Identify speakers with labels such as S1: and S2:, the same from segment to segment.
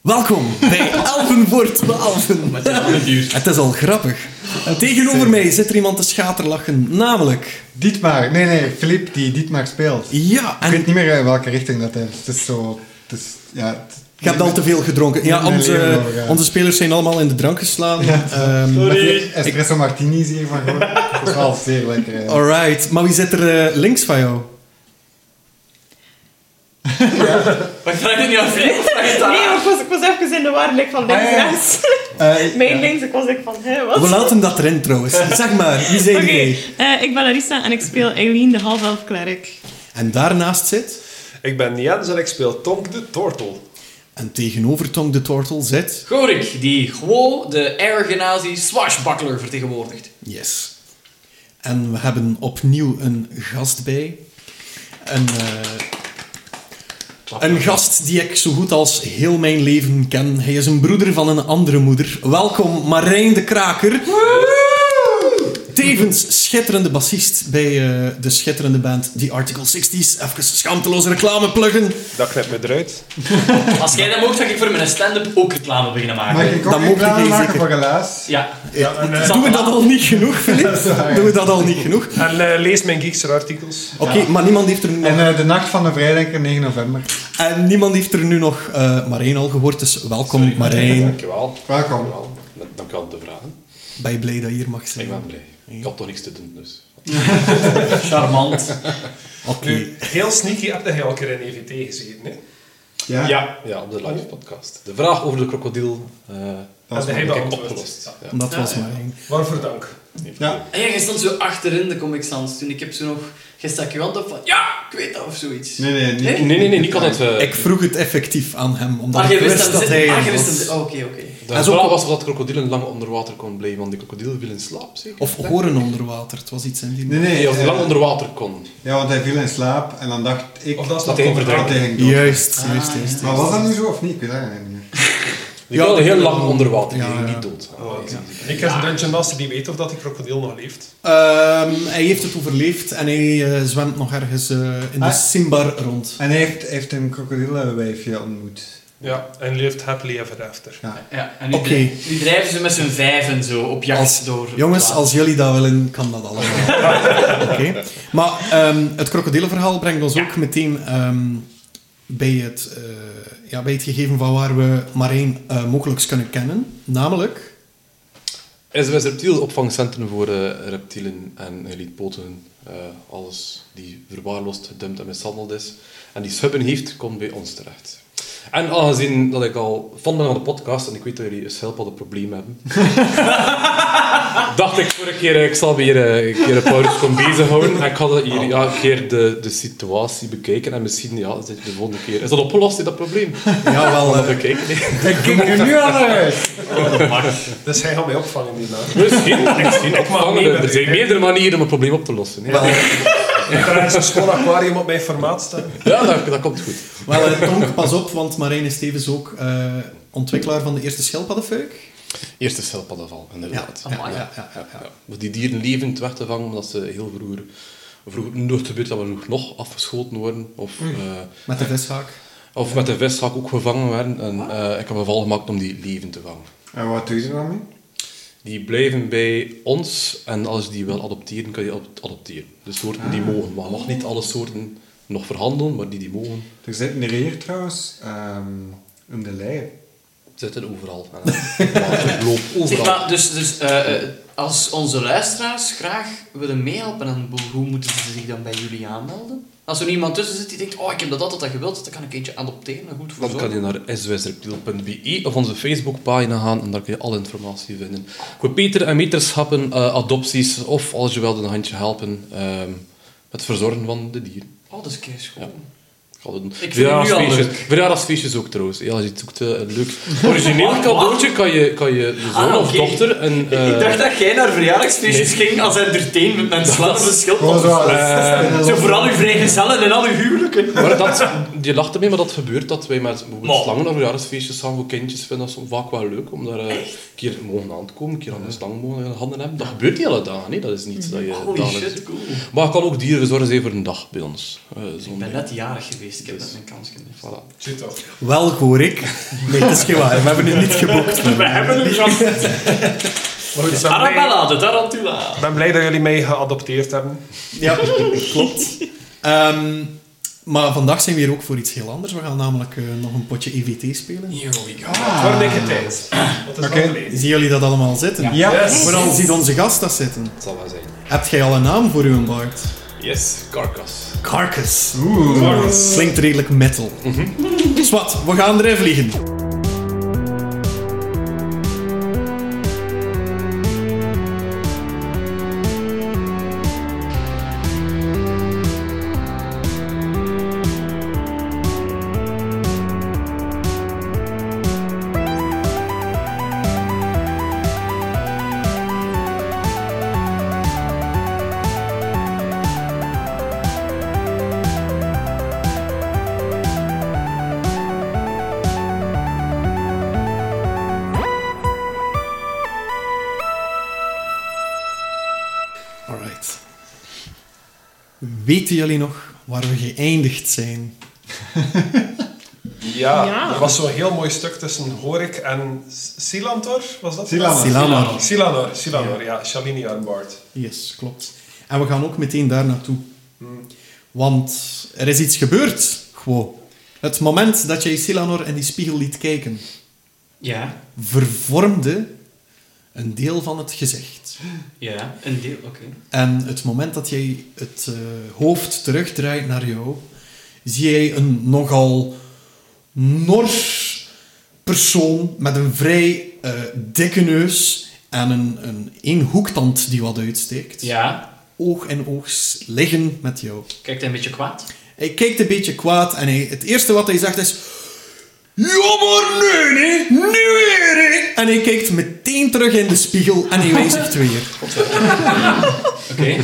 S1: Welkom bij Elfen voor 12.
S2: Met de andere duur.
S1: Het is al grappig. En tegenover mij zit er iemand te schaterlachen, namelijk...
S3: Dietmar, nee, nee, Filip die Dietmar speelt.
S1: Ja,
S3: Ik
S1: en
S3: weet niet meer in welke richting dat is. Het is zo. Het is, ja, het-
S1: je hebt al te veel gedronken. Ja,
S3: Mijn leven
S1: onze,
S3: nog, ja.
S1: onze spelers zijn allemaal in de drank geslagen.
S3: Ja.
S1: Ehm,
S2: Sorry.
S3: Espresso martinis hiervan gehoord. Dat is wel zeer lekker. eh. ja.
S1: alright, maar wie zit er eh, links van jou?
S2: Maar ik vraag het niet aan Filip, vraag het aan
S4: Nee, maar
S2: haar.
S4: ik was, ik was even in de war, like, van links
S3: Ah, ja.
S4: rechts.
S3: Eh,
S4: Mijn
S3: ja.
S4: links, ik was like, van, hè, wat?
S1: We laten dat erin trouwens. Zeg maar, wie zijn
S4: Oké,
S1: jij?
S4: eh, ik ben Larissa en ik speel Eileen, de half-elf klerk.
S1: En daarnaast zit...
S5: Ik ben Jens en ik speel Tonk de Tortel.
S1: En tegenover Tong de Tortel zit...
S2: Gorik, die gewoon de ergenazi swashbuckler vertegenwoordigt.
S1: Yes. En we hebben opnieuw een gast bij. Een, eh, een gast die ik zo goed als heel mijn leven ken. Hij is een broeder van een andere moeder. Welkom Marijn de Kraker. Tevens schitterende bassist bij eh, de schitterende band The Article 60s. Even schaamteloze reclame pluggen.
S5: Dat knipt me eruit.
S2: Als jij dat mag, ga ik voor mijn stand-up ook reclame beginnen
S3: Mag
S2: maken.
S3: ik
S1: Dan
S3: ook
S1: mocht
S3: een
S1: ik
S3: reclame
S1: deze
S3: maken
S1: zeker.
S3: voor helaas?
S2: Ja.
S1: Doen we dat al niet genoeg, Filip? Doen we dat al niet genoeg?
S5: En eh, lees mijn Geekster artikels.
S1: Oké, maar niemand heeft er nu nog
S3: En eh, de nacht van de vrijdenker, 9 november.
S1: En niemand heeft er nu nog eh Marijn al gehoord, dus welkom Marijn.
S5: Dankjewel.
S3: Welkom.
S5: Dankjewel. Dan- Dan kan ik de vragen.
S1: Ben je blij dat je hier mag zijn?
S5: Ik ben blij. Ik had toch niks te doen, dus.
S2: Charmant.
S1: Oké.
S6: Nu, heel sneaky heb je al een keer in EVT gezeten, hè?
S3: Ja.
S5: Ja, op de live podcast. De vraag over de krokodil. eh
S6: Dat
S5: heb
S6: heb je
S5: ik
S6: beantwoord.
S5: opgelost. Ja.
S1: Dat was Marijn.
S6: Waarvoor dank.
S3: Ja.
S2: En jij stond zo achterin de Comic Sans toen ik heb zo nog... Jij stak je hand op van, ja, ik weet dat, of zoiets.
S3: Nee, nee, niet-
S5: Nee, nee, nee, niet kan het. eh,
S1: Ik vroeg het effectief aan hem, omdat
S2: Maar
S1: ik
S2: jij
S1: wist
S2: wist
S1: dat,
S2: hem
S1: hij...
S2: zitten. Ah, jij
S1: er
S2: wist hem
S1: was.
S2: zitten. Oh, Oké, oké.
S5: De
S1: En
S5: vraag
S1: zo-
S5: was of dat krokodillen lang onder water kon blijven, want de krokodil viel in slaap, zeker?
S1: Of horen onder water, het was iets in die...
S3: Nee, nee.
S5: Nee, of
S3: eh,
S5: lang onder water kon.
S3: Ja, want hij viel in slaap en dan dacht ik
S6: Of dat is
S5: Dat
S6: dat
S5: even
S3: dat hij ging dood.
S1: Juist, juist, juist.
S3: Maar was dat nu zo of niet? Ik weet het eigenlijk niet meer.
S5: Die
S1: Ja,
S5: kon
S1: dat-
S5: heel lang onder water, die
S1: Ja,
S5: ging
S1: ja.
S5: niet dood.
S6: Ik heb een dungeon master die weet of dat die krokodil nog leeft.
S1: Ehm, hij heeft het overleefd en hij eh, zwemt nog ergens eh, in de
S3: Ah.
S1: Simbar rond.
S3: En hij heeft, heeft een krokodillenwijfje ontmoet.
S6: Ja, en leeft happily ever after.
S2: Ja, en nu,
S1: Oké.
S2: drijf- nu drijven ze met z'n vijven zo op jacht
S1: Als-
S2: door... het
S1: Jongens,
S2: water.
S1: als jullie dat willen, kan dat allemaal. Oké. Maar ehm, het krokodillenverhaal brengt ons ook meteen ehm, bij, het, eh, ja, bij het gegeven van waar we Marijn eh mogelijk kunnen kennen. Namelijk...
S5: SWS Reptiel, opvangcentrum voor eh, reptielen en elitepoten. eh alles die verwaarloosd, gedumpt en mishandeld is. En die subben heeft, komt bij ons terecht. En aangezien dat ik al van ben aan de podcast, en ik weet dat jullie een help al een probleem hebben, dacht ik vorige keer, eh, ik zal weer eh, een keer een paar uur gaan bezighouden. En ik ga dat hier ja, een keer de, de situatie bekijken. En misschien, ja, is dit de volgende keer. Is dat opgelost, dit, dat probleem?
S1: Ja, wel...
S5: Gaan
S1: eh,
S5: we bekijken.
S3: Ik ging er nu aan uit!
S6: Dus hij gaat mij opvangen hierna.
S5: Misschien, misschien.
S6: Ik mag
S5: opvangen.
S6: mee met
S5: Er zijn
S6: u, hè.
S5: meerdere manieren om een probleem op te lossen. hè.
S6: Ik heb daar eens een schoon aquarium op mijn formaat staan.
S5: Ja, dat, dat komt goed.
S1: wel, eh, Tonk, pas op, want Marijn is tevens ook eh, ontwikkelaar van de eerste schelpaddenfuik.
S5: Eerst de schelpaddenval, inderdaad.
S1: Ja, amai. Ja, ja, ja.
S5: Maar die dieren levend weg te vangen, omdat ze heel vroeger... Vroeger nooit gebeurt dat we nog- nog afgeschoten worden. Of,
S1: Mm.
S5: eh,
S1: Met de vishaak.
S5: of met de vishak ook gevangen werden. En
S1: Ah.
S5: eh, ik heb een val gemaakt om die levend te vangen.
S3: En wat doe je er dan mee?
S5: Die blijven bij ons. En als je die wil adopteren, kan je die ad- adopteren. De soorten
S1: Ah.
S5: die mogen. Maar je mag niet alle soorten nog verhandelen, maar die die mogen...
S3: Er zitten er hier trouwens ehm in de lijn.
S5: Zitten overal. Ik loop
S2: Zeg
S5: overal.
S2: maar, dus, dus eh, eh, als onze luisteraars graag willen meehelpen aan het boek, hoe moeten ze zich dan bij jullie aanmelden? Als er iemand tussen zit die denkt, oh, ik heb dat altijd al gewild, dan kan ik eentje adopteren en goed voor
S5: Dan kan
S2: zorgen.
S5: je naar swsreptiel.be of onze Facebookpagina gaan en daar kun je alle informatie vinden. Voor Peter en meterschappen, eh, adopties of als je wilde een handje helpen ehm, het verzorgen van de dieren.
S2: Oh, dat is keer schoon.
S5: Ik ga doen.
S2: vind het nu al
S5: Verjaardagsfeestjes-
S2: leuk.
S5: Verjaardagsfeestjes ook trouwens. Ja, als je het zoekt, eh, een leuk origineel
S2: Wat?
S5: cadeautje kan je, kan je de zoon
S2: Ah,
S5: of
S2: oké.
S5: dochter een...
S2: Ik- ik
S5: eh,
S2: dacht dat jij naar verjaardagsfeestjes ging als entertainment met slaan op de
S3: Gewoon Oh, zo.
S2: schildpad.
S3: eh,
S2: Zo vooral uw vrijgezellen en al uw huwelijken.
S5: Maar dat, je lacht ermee, maar dat gebeurt dat wij met bijvoorbeeld
S2: Maar-
S5: slangen naar verjaardagsfeestjes gaan voor kindjes. vinden dat soms vaak wel leuk om daar eh, een keer mogen aan te komen, een keer aan de slang mogen in de handen hebben. Dat gebeurt niet alle dagen, nee. dat is niet dat je
S2: Holy
S5: dagelijks-
S2: shit, cool.
S5: Maar het kan ook dierenverzorg zijn voor een dag bij ons. eh,
S2: Ik
S5: zondag.
S2: ben net jarig geweest. geweest. Ik heb net mijn kans gemist.
S5: Voilà.
S6: Zie toch.
S1: Wel, hoor ik. Nee, dat is geen waar. We hebben het niet geboekt.
S2: We hebben een gast.
S6: Maar goed, ik ben blij,
S2: Arabella, de Tarantula.
S6: ik ben blij dat jullie mij geadopteerd hebben.
S1: Ja, klopt. Ehm, maar vandaag zijn we hier ook voor iets heel anders. We gaan namelijk eh, nog een potje EVT spelen.
S2: Here we go.
S6: Voor dikke tijd. Wat is
S3: Oké.
S6: dat geleden?
S1: Zien jullie dat allemaal zitten?
S3: Ja.
S6: Yes.
S1: Vooral ziet onze gast dat zitten.
S5: Dat zal wel zijn.
S1: Hebt jij al een naam voor uw baard?
S5: Yes, Carcass.
S1: Carcass. Oeh. Klinkt redelijk metal.
S5: Mhm.
S1: Dus wat, we gaan erin vliegen. Alright. Weten jullie nog waar we geëindigd zijn?
S6: Ja.
S4: Ja.
S6: er was zo'n heel mooi stuk tussen Horik en S- Silantor, was dat?
S3: Silanor.
S1: Silamar.
S6: Silanor, Silanor, ja. Shalini Armbard.
S1: Yes, klopt. En we gaan ook meteen daar naartoe. Want er is iets gebeurd, gewoon. Het moment dat jij Silanor in die spiegel liet kijken,
S2: Ja,
S1: vervormde een deel van het gezicht.
S2: ja, een deel, oké.
S1: En het moment dat jij het eh, hoofd terugdraait naar jou, zie jij een nogal nors persoon met een vrij eh, dikke neus en een, een eenhoektand die wat uitsteekt.
S2: Ja,
S1: Oog in oog s- liggen met jou.
S2: kijkt hij een beetje kwaad?
S1: Hij kijkt een beetje kwaad en hij, het eerste wat hij zegt is... Ja, maar nee, nee, nu weer, hè." En hij kijkt meteen terug in de spiegel en hij wijzigt weer.
S2: Oké.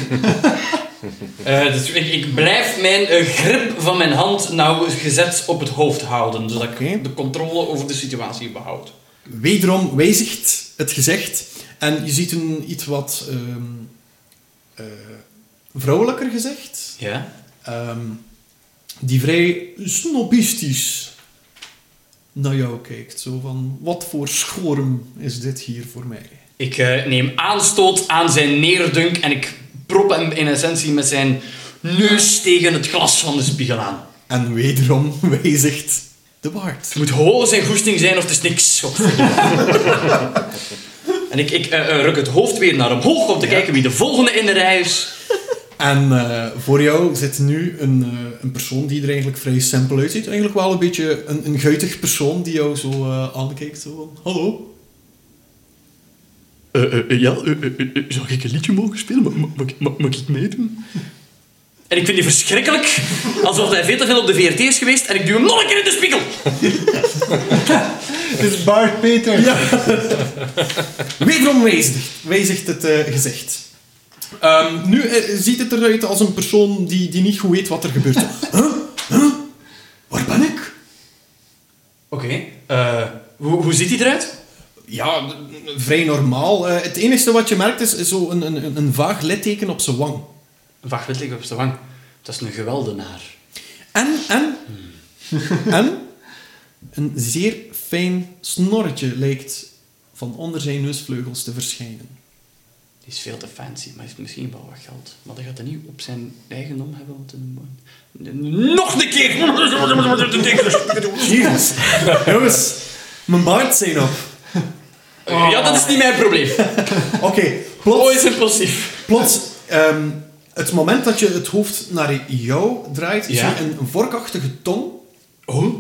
S2: Eh, dus ik, ik blijf mijn eh, grip van mijn hand nou gezet op het hoofd houden, zodat
S1: Oké.
S2: ik de controle over de situatie behoud.
S1: Wederom wijzigt het gezicht en je ziet een iets wat ehm, eh, vrouwelijker gezicht,
S2: Ja?
S1: ehm, die vrij snobistisch naar jou kijkt. Zo van, wat voor schorm is dit hier voor mij?
S2: Ik eh, neem aanstoot aan zijn neerdunk en ik prop hem in essentie met zijn neus tegen het glas van de spiegel aan.
S1: En wederom wijzigt de baard.
S2: Het moet hoog zijn goesting zijn of het is niks. godverdomme. en ik, ik eh, eh, ruk het hoofd weer naar omhoog om te kijken wie de volgende in de rij is.
S1: En eh, voor jou zit nu een, eh, een persoon die er eigenlijk vrij simpel uitziet. Eigenlijk wel een beetje een, een guitig persoon die jou zo eh, aankijkt. Zo van, hallo.
S7: ja, eh, zou ik een liedje mogen spelen? Mag ik meedoen?
S2: En ik vind die verschrikkelijk, alsof hij veel te veel op de VRT is geweest en ik duw hem nog een keer in de spiegel.
S3: Het is Bart Peter.
S1: Wederom wijzigt, wijzigt het eh, gezicht. Ehm, nu eh, ziet het eruit als een persoon die, die niet goed weet wat er gebeurt. huh? Huh? Waar ben ik?
S2: Oké, eh, hoe, hoe ziet hij eruit?
S1: Ja, d- d- vrij normaal. Eh, het enige wat je merkt is zo'n een, een, een- een vaag litteken op zijn wang.
S2: Wacht, wit liggen op zijn wang. Dat is een geweldenaar.
S1: En, en, en, Hmm. een zeer fijn snorretje lijkt van onder zijn neusvleugels te verschijnen.
S2: Die is veel te fancy, maar heeft misschien wel wat geld. Maar dat gaat hij niet op zijn eigendom hebben om te doen. Nog een keer!
S1: Jezus, jongens, mijn baard zijn op.
S2: Ja, dat is niet mijn probleem.
S1: Oké, plots,
S2: Oh, is impulsief.
S1: plots ehm, het moment dat je het hoofd naar jou draait,
S2: Ja.
S1: zie je een vorkachtige tong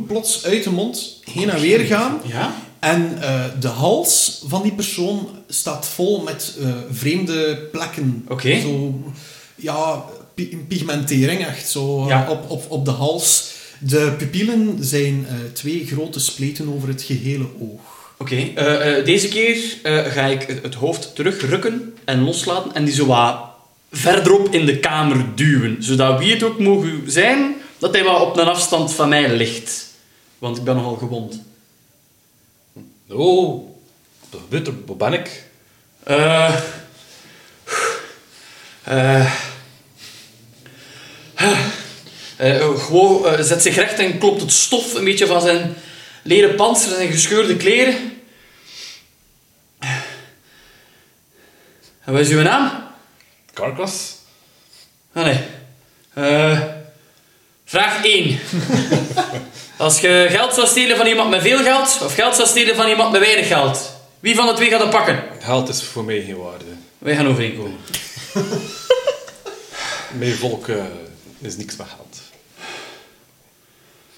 S1: plots uit de mond heen en weer gaan.
S2: Ja?
S1: En eh, de hals van die persoon staat vol met eh, vreemde plekken.
S2: Oké.
S1: Zo, ja, pi- pigmentering echt. Zo eh,
S2: Ja.
S1: op, op, op de hals. De pupillen zijn eh, twee grote spleten over het gehele oog.
S2: Oké, eh, eh, deze keer eh, ga ik het hoofd terugrukken en loslaten en die zo wat verderop in de kamer duwen. Zodat wie het ook mogen zijn, dat hij wel op een afstand van mij ligt. Want ik ben nogal gewond.
S5: Oh, wat gebeurt er? Waar ben ik?
S2: Eh. Eh. Eh, eh, gewoon eh, zet zich recht en klopt het stof een beetje van zijn leren panzer en zijn gescheurde kleren. En wat is uw naam?
S5: Carcass?
S2: Ah nee. Eh, vraag 1. Als je geld zou stelen van iemand met veel geld, of geld zou stelen van iemand met weinig geld, wie van de twee gaat het pakken?
S5: Geld is voor mij geen waarde.
S2: Wij gaan overeenkomen.
S5: Mijn volk eh, is niks met geld.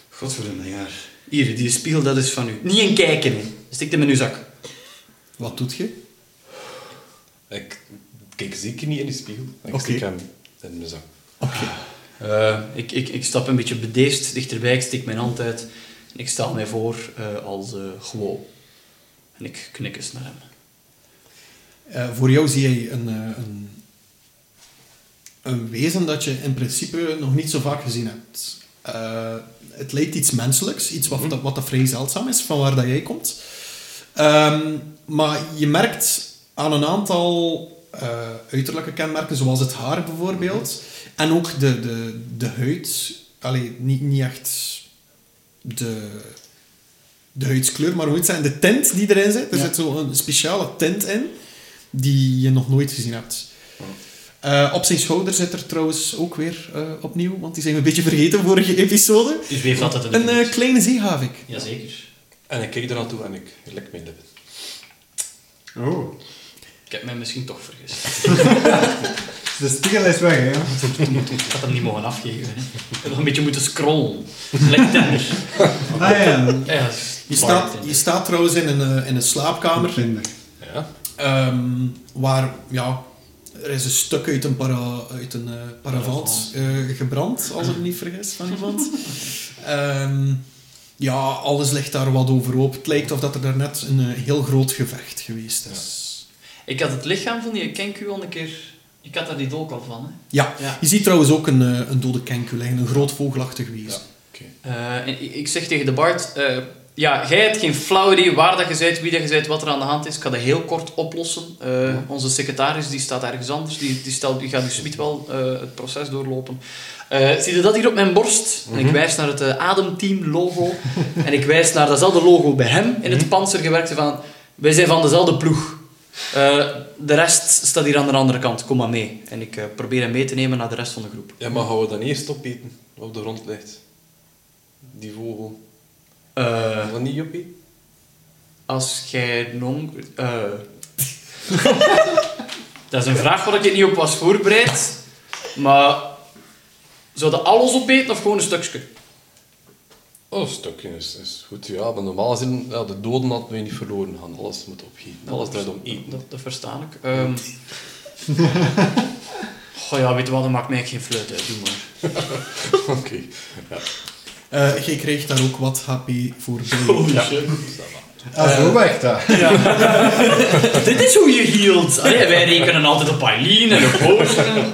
S2: Godverdomme, jaar. Hier, die spiegel, dat is van u. Niet in kijken, hè. Stik hem in uw zak.
S1: Wat doet je?
S5: Ik kijk zeker niet in de spiegel. Ik
S1: Oké.
S5: steek hem in mijn zak.
S2: Eh, ik, ik, ik stap een beetje bedeesd dichterbij, ik steek mijn hand uit. En ik stel mij voor eh, als eh gewoon. En ik knik eens naar hem.
S1: Eh, voor jou zie jij een, eh, een, een wezen dat je in principe nog niet zo vaak gezien hebt. Eh, het lijkt iets menselijks, iets wat, dat, wat dat vrij zeldzaam is, van waar dat jij komt. Ehm, maar je merkt aan een aantal eh, uiterlijke kenmerken, zoals het haar bijvoorbeeld, en ook de, de, de huid, allee, niet, niet echt de, de huidskleur, maar hoe het zijn, de tint die erin zit. Er
S2: Ja.
S1: zit zo'n speciale tint in, die je nog nooit gezien hebt. Eh, op zijn schouder zit er trouwens ook weer eh, opnieuw, want die zijn we een beetje vergeten vorige episode.
S2: Dus wie heeft altijd een...
S1: Een eh, kleine zeehavik.
S2: Jazeker.
S5: En ik kijk eraan toe en ik lek mijn lippen.
S3: Oh,
S2: Ik heb mij misschien toch vergist.
S3: de spiegel is weg, hè?
S2: Ik had hem niet mogen afgeven. hè. Ik had nog een beetje moeten scrollen. Lekker tender.
S3: Ah ja,
S2: Ja, dat is
S1: Je
S2: waar,
S1: staat,
S2: tender.
S1: je staat trouwens in een, eh, in een slaapkamer,
S3: Tinder.
S5: Ja?
S1: ehm, waar, ja, er is een stuk uit een, para, uit een eh, paravant eh, gebrand, als ik me niet vergis, van iemand. Ehm, ja, alles ligt daar wat overhoop. Het lijkt of dat er daarnet een eh, heel groot gevecht geweest is.
S2: Ik had het lichaam van die kenku al een keer... Ik had daar die dolk al van. Hè.
S1: Ja.
S2: Ja.
S1: je ziet trouwens ook een, eh, een dode kenku liggen, een groot vogelachtig wezen.
S5: Oké.
S2: Eh, en ik, ik zeg tegen de Bart... eh, ja, jij hebt geen flauw idee waar dat je bent, wie dat je bent, wat er aan de hand is. Ik ga dat heel kort oplossen. Eh, Onze secretaris die staat ergens anders. Die, die, stelt, die gaat dus niet wel eh, het proces doorlopen. Eh, zie je dat hier op mijn borst? En ik wijs naar het eh, Ademteam logo. en ik wijs naar datzelfde logo bij hem in het panzer gewerkte van... Wij zijn van dezelfde ploeg. Eh, de rest staat hier aan de andere kant. Kom maar mee. En ik eh, probeer hem mee te nemen naar de rest van de groep.
S5: Ja, maar gaan we dan eerst opeten wat op de grond ligt? Die vogel.
S2: Eh,
S5: Gaan we dat niet opeten?
S2: Als jij non... eh. dat is een vraag waar ik je niet op was voorbereid. Maar... Zou je alles opeten of gewoon een stukje?
S5: Oh, een stukje is, is goed, ja. Maar normaal gezien, ja, de doden hadden wij niet verloren gaan. Alles moet opeten. Alles draait om eten.
S2: Dat, dat verstaan ik. Ehm. Goh ja, weet je wat, dat maakt mij geen fluit uit. Doe maar.
S5: Oké.
S1: Eh jij krijgt daar ook wat HP voor bij.
S3: Ah, zo weg daar.
S2: Dit is hoe je hield. Allee, wij rekenen altijd op Aileen en op Boos. Godverdomme.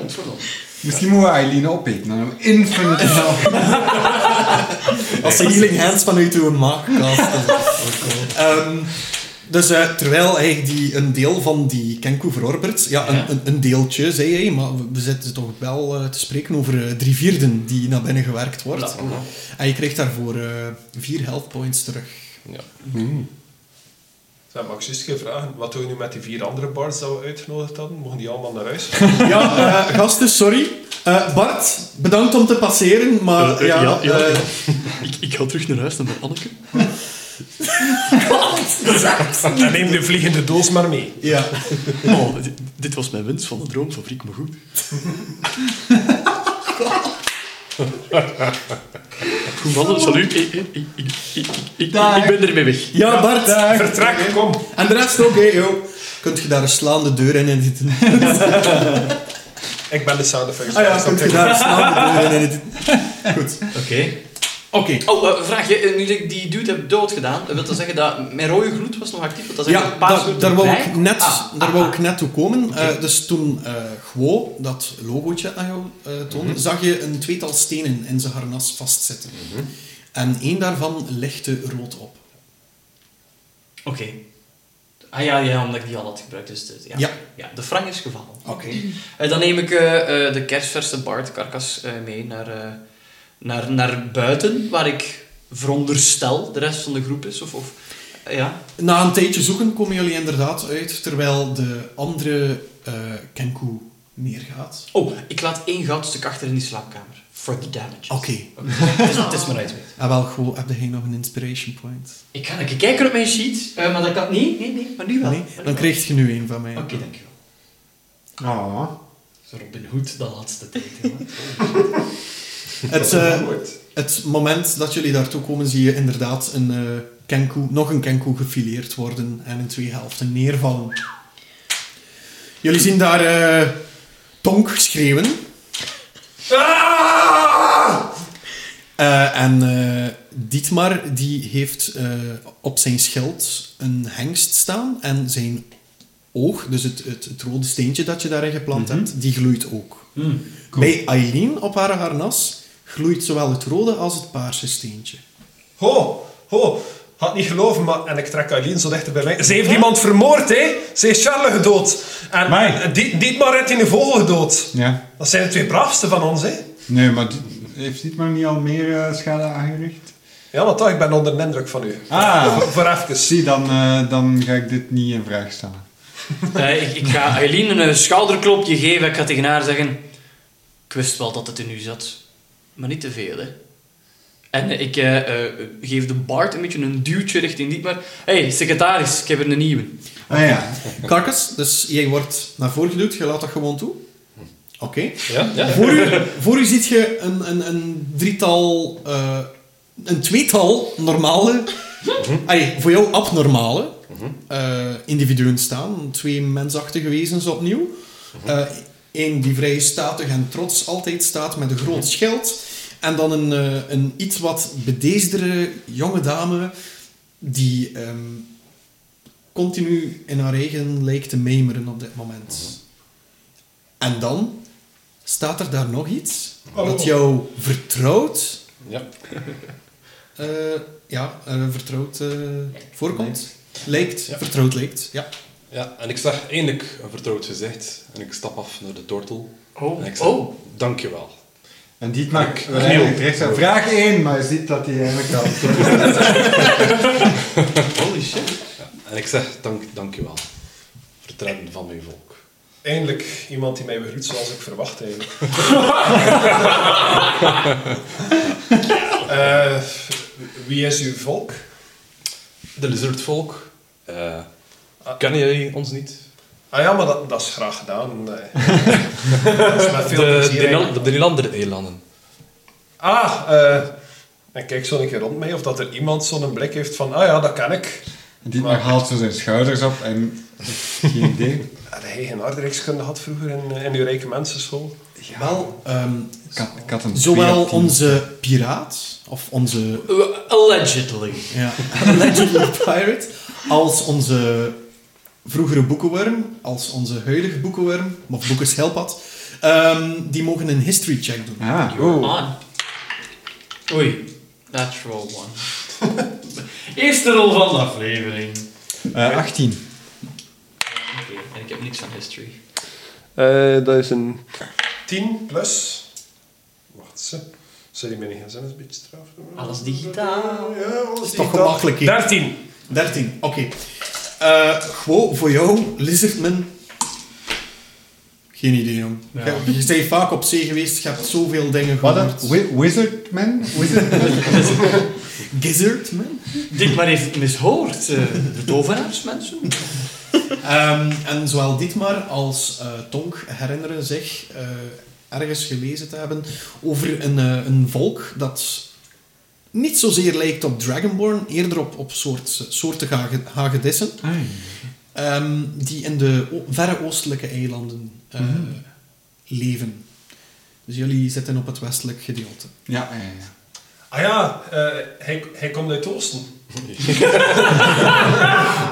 S3: Misschien moeten we Eileen opeten. Dan hebben we infinite help.
S1: Als de healing hands vanuit uw maag casten. Ehm, dus eh, terwijl hij die, een deel van die kenku verorbert, ja, een,
S2: Ja.
S1: Een, een deeltje, zei hij, maar we- we zitten toch wel eh, te spreken over eh, drie vierden die naar binnen gewerkt wordt. En je krijgt daarvoor eh, vier health points terug.
S5: Ja.
S6: Zeg, mag ik juist geen vragen? Wat doen we nu met die vier andere bars die we uitgenodigd hadden? Mogen die allemaal naar huis?
S1: Ja, eh, gasten, sorry. Eh, Bart, bedankt om te passeren, maar
S7: Eh, eh,
S1: ja,
S7: ja, ja,
S1: eh,
S7: ja. Ik, ik ga terug naar huis, naar mijn Anneke.
S6: Dan neem de vliegende doos maar mee.
S1: ja.
S7: Oh, dit, dit was mijn wens van de droomfabriek, maar goed. Goed, mannen, salut. Ik, ik, ik, ik, ik, ik
S3: Dag.
S7: ben ermee weg.
S1: Ja, Bart.
S6: Vertrek, kom.
S1: En de rest ook, hè, joh. Kunt je daar een slaande deur in zitten?
S6: Ik ben de sound effects.
S1: Ah ja, kunt je daar een slaande deur in zitten?
S2: Oké.
S1: Oké.
S2: Oh, eh, vraagje. Eh, Nu dat ik die dude heb doodgedaan, wil dat zeggen dat mijn rode gloed was nog actief? Wil dat zeggen
S1: Ja,
S2: dat paars
S1: daar,
S2: gloed
S1: daar, wou
S2: erbij?
S1: ik net,
S2: Ah,
S1: daar
S2: ah,
S1: wou
S2: ah.
S1: ik net toe komen. Eh, dus toen eh Guo dat logootje aan jou eh, toonde,
S2: Mhm.
S1: zag je een tweetal stenen in zijn harnas vastzitten.
S2: Mhm.
S1: En één daarvan lichtte rood op.
S2: Oké. Ah ja, ja, omdat ik die al had gebruikt. Dus de, ja.
S1: Ja. Oh.
S2: Ja. de frank is gevallen.
S1: Oké.
S2: Eh, dan neem ik eh, eh, de kerstverse Bart Karkas eh, mee naar, eh, naar, naar buiten, waar ik veronderstel de rest van de groep is. Of, of, ja.
S1: Na een tijdje zoeken komen jullie inderdaad uit, terwijl de andere eh, Kenku neergaat.
S2: Oh, ik laat één goudstuk achter in die slaapkamer. For the damage. dus
S1: Oké,
S2: Het is, het is maar uit.
S1: en wel, goh, heb jij nog een inspiration point?
S2: Ik ga even kijken op mijn sheet, eh, maar dat kan... Nee, nee, nee, maar nu wel.
S1: Nee?
S2: Maar nu
S1: Dan
S2: wel.
S1: krijg je nu één van mij.
S2: Oké, dankjewel.
S3: Ah.
S2: Zo Robin Hood, de laatste tijd.
S1: Het, eh, het moment dat jullie daartoe komen, zie je inderdaad een eh, kenkoe, nog een kenkoe gefileerd worden en in twee helften neervallen. Jullie zien daar eh, Tonk schreeuwen. Ah! Eh, en eh, Dietmar die heeft eh, op zijn schild een hengst staan en zijn oog, dus het, het, het rode steentje dat je daarin geplant hebt, die gloeit ook. Bij Aileen op haar harnas gloeit zowel het rode als het paarse steentje.
S6: Ho, ho. Had niet geloven, maar... En ik trek Aileen zo dichter bij mij. Ze heeft iemand vermoord, hè. Ze heeft Charles gedood. En
S3: Amai.
S6: die, Dietmar heeft in de vogel gedood.
S3: Ja.
S6: Dat zijn de twee braafste van ons, hè.
S3: Nee, maar die- heeft dit maar niet al meer eh, schade aangericht?
S6: Ja, maar toch, ik ben onder de indruk van u.
S3: Ah.
S6: Voor- Voor even.
S3: Zie, dan, eh, dan ga ik dit niet in vraag stellen.
S2: Eh, ik, ik ga Eileen een eh, schouderklopje geven. Ik ga tegen haar zeggen... Ik wist wel dat het in u zat. Maar niet te veel, hè. En eh, ik eh, eh, geef de Bart een beetje een duwtje richting Dietmar. Hé, hey, secretaris, ik heb er een nieuwe.
S3: Ah ja.
S1: Karkas, dus jij wordt naar voren geduwd, je laat dat gewoon toe. Oké.
S6: Ja, ja.
S1: Voor, u, voor u ziet je een, een, een drietal, eh, een tweetal normale,
S6: Mhm.
S1: Allee, voor jou abnormale eh, individuen staan. Twee mensachtige wezens opnieuw.
S6: Mhm.
S1: Eén die vrij statig en trots altijd staat met een
S6: Mhm.
S1: groot schild. En dan een, eh, een iets wat bedeesdere jonge dame die ehm, continu in haar eigen lijkt te memeren op dit moment. En dan staat er daar nog iets dat jou vertrouwd,
S5: Ja.
S1: eh, ja, eh, vertrouwd eh, voorkomt. Lijkt,
S5: Ja.
S1: vertrouwd lijkt, ja.
S5: ja, en ik zag eindelijk een vertrouwd gezicht. En ik stap af naar de tortel. En ik
S2: Oh,
S5: zeg,
S2: oh.
S5: dankjewel.
S3: En dit maakt we eigenlijk rechts aan. Vraag 1, maar je ziet dat hij eigenlijk al...
S2: Holy shit.
S5: En ik zeg, dank, dankjewel. Vertrekken van mijn volk.
S6: Eindelijk iemand die mij begroet zoals ik verwacht eigenlijk. Eh, wie is uw volk?
S5: De lizardvolk. eh kennen jullie ons niet?
S6: Ah ja, maar dat, dat is graag gedaan. eh. dat is met
S5: De,
S6: veel
S5: de,
S6: plezier. eigenlijk.
S5: Nederlander-eilanden.
S6: Ah, eh, en kijk zo een keer rond mij of dat er iemand zo'n blik heeft van, ah ja, dat ken ik.
S3: Die maar haalt zo zijn schouders op en geen idee.
S6: Had hij geen aardrijkskunde had vroeger in, eh, in uw rijke mensenschool?
S1: Wel, ehm,
S3: Ik had, ik had een
S1: zowel
S3: 14.
S1: onze piraat, of onze
S2: Eh, Allegedly.
S1: ja, allegedly pirate, als onze vroegere boekenworm, als onze huidige boekenworm, of boekenschelpad, ehm, die mogen een history check doen.
S3: Ah,
S2: You're
S3: oh.
S2: on. Oei, natural one. Eerste rol van de aflevering.
S3: Eh, 18.
S2: Oké, en ik heb niks aan history.
S5: dat is een...
S6: 10 plus... Wacht, ze. Sorry, mijn gsm is een beetje straf.
S2: Alles digitaal.
S6: Ja, alles
S1: Toch gemakkelijk, hè?
S6: 13.
S1: 13, oké. Eh, gewoon voor jou, Lizardman. Geen idee, jong. Je, je bent vaak op zee geweest, je hebt zoveel dingen
S3: Wat
S1: gehoord.
S3: een wi- wizard man? Wizard
S1: Gizzardman?
S2: Dit maar heeft mishoord. eh, De dovenaarsmensen.
S1: Ehm, en zowel Dietmar als eh, Tonk herinneren zich eh, ergens gelezen te hebben over een, eh, een volk dat niet zozeer lijkt op Dragonborn, eerder op, op soort, soorten hage- hagedissen.
S3: Ah,
S1: Ehm, die in de o- verre oostelijke eilanden eh,
S5: Mhm.
S1: leven. Dus jullie zitten op het westelijk gedeelte.
S3: Ja, ja, ja.
S6: Ah ja, eh, hij, hij komt uit Oosten.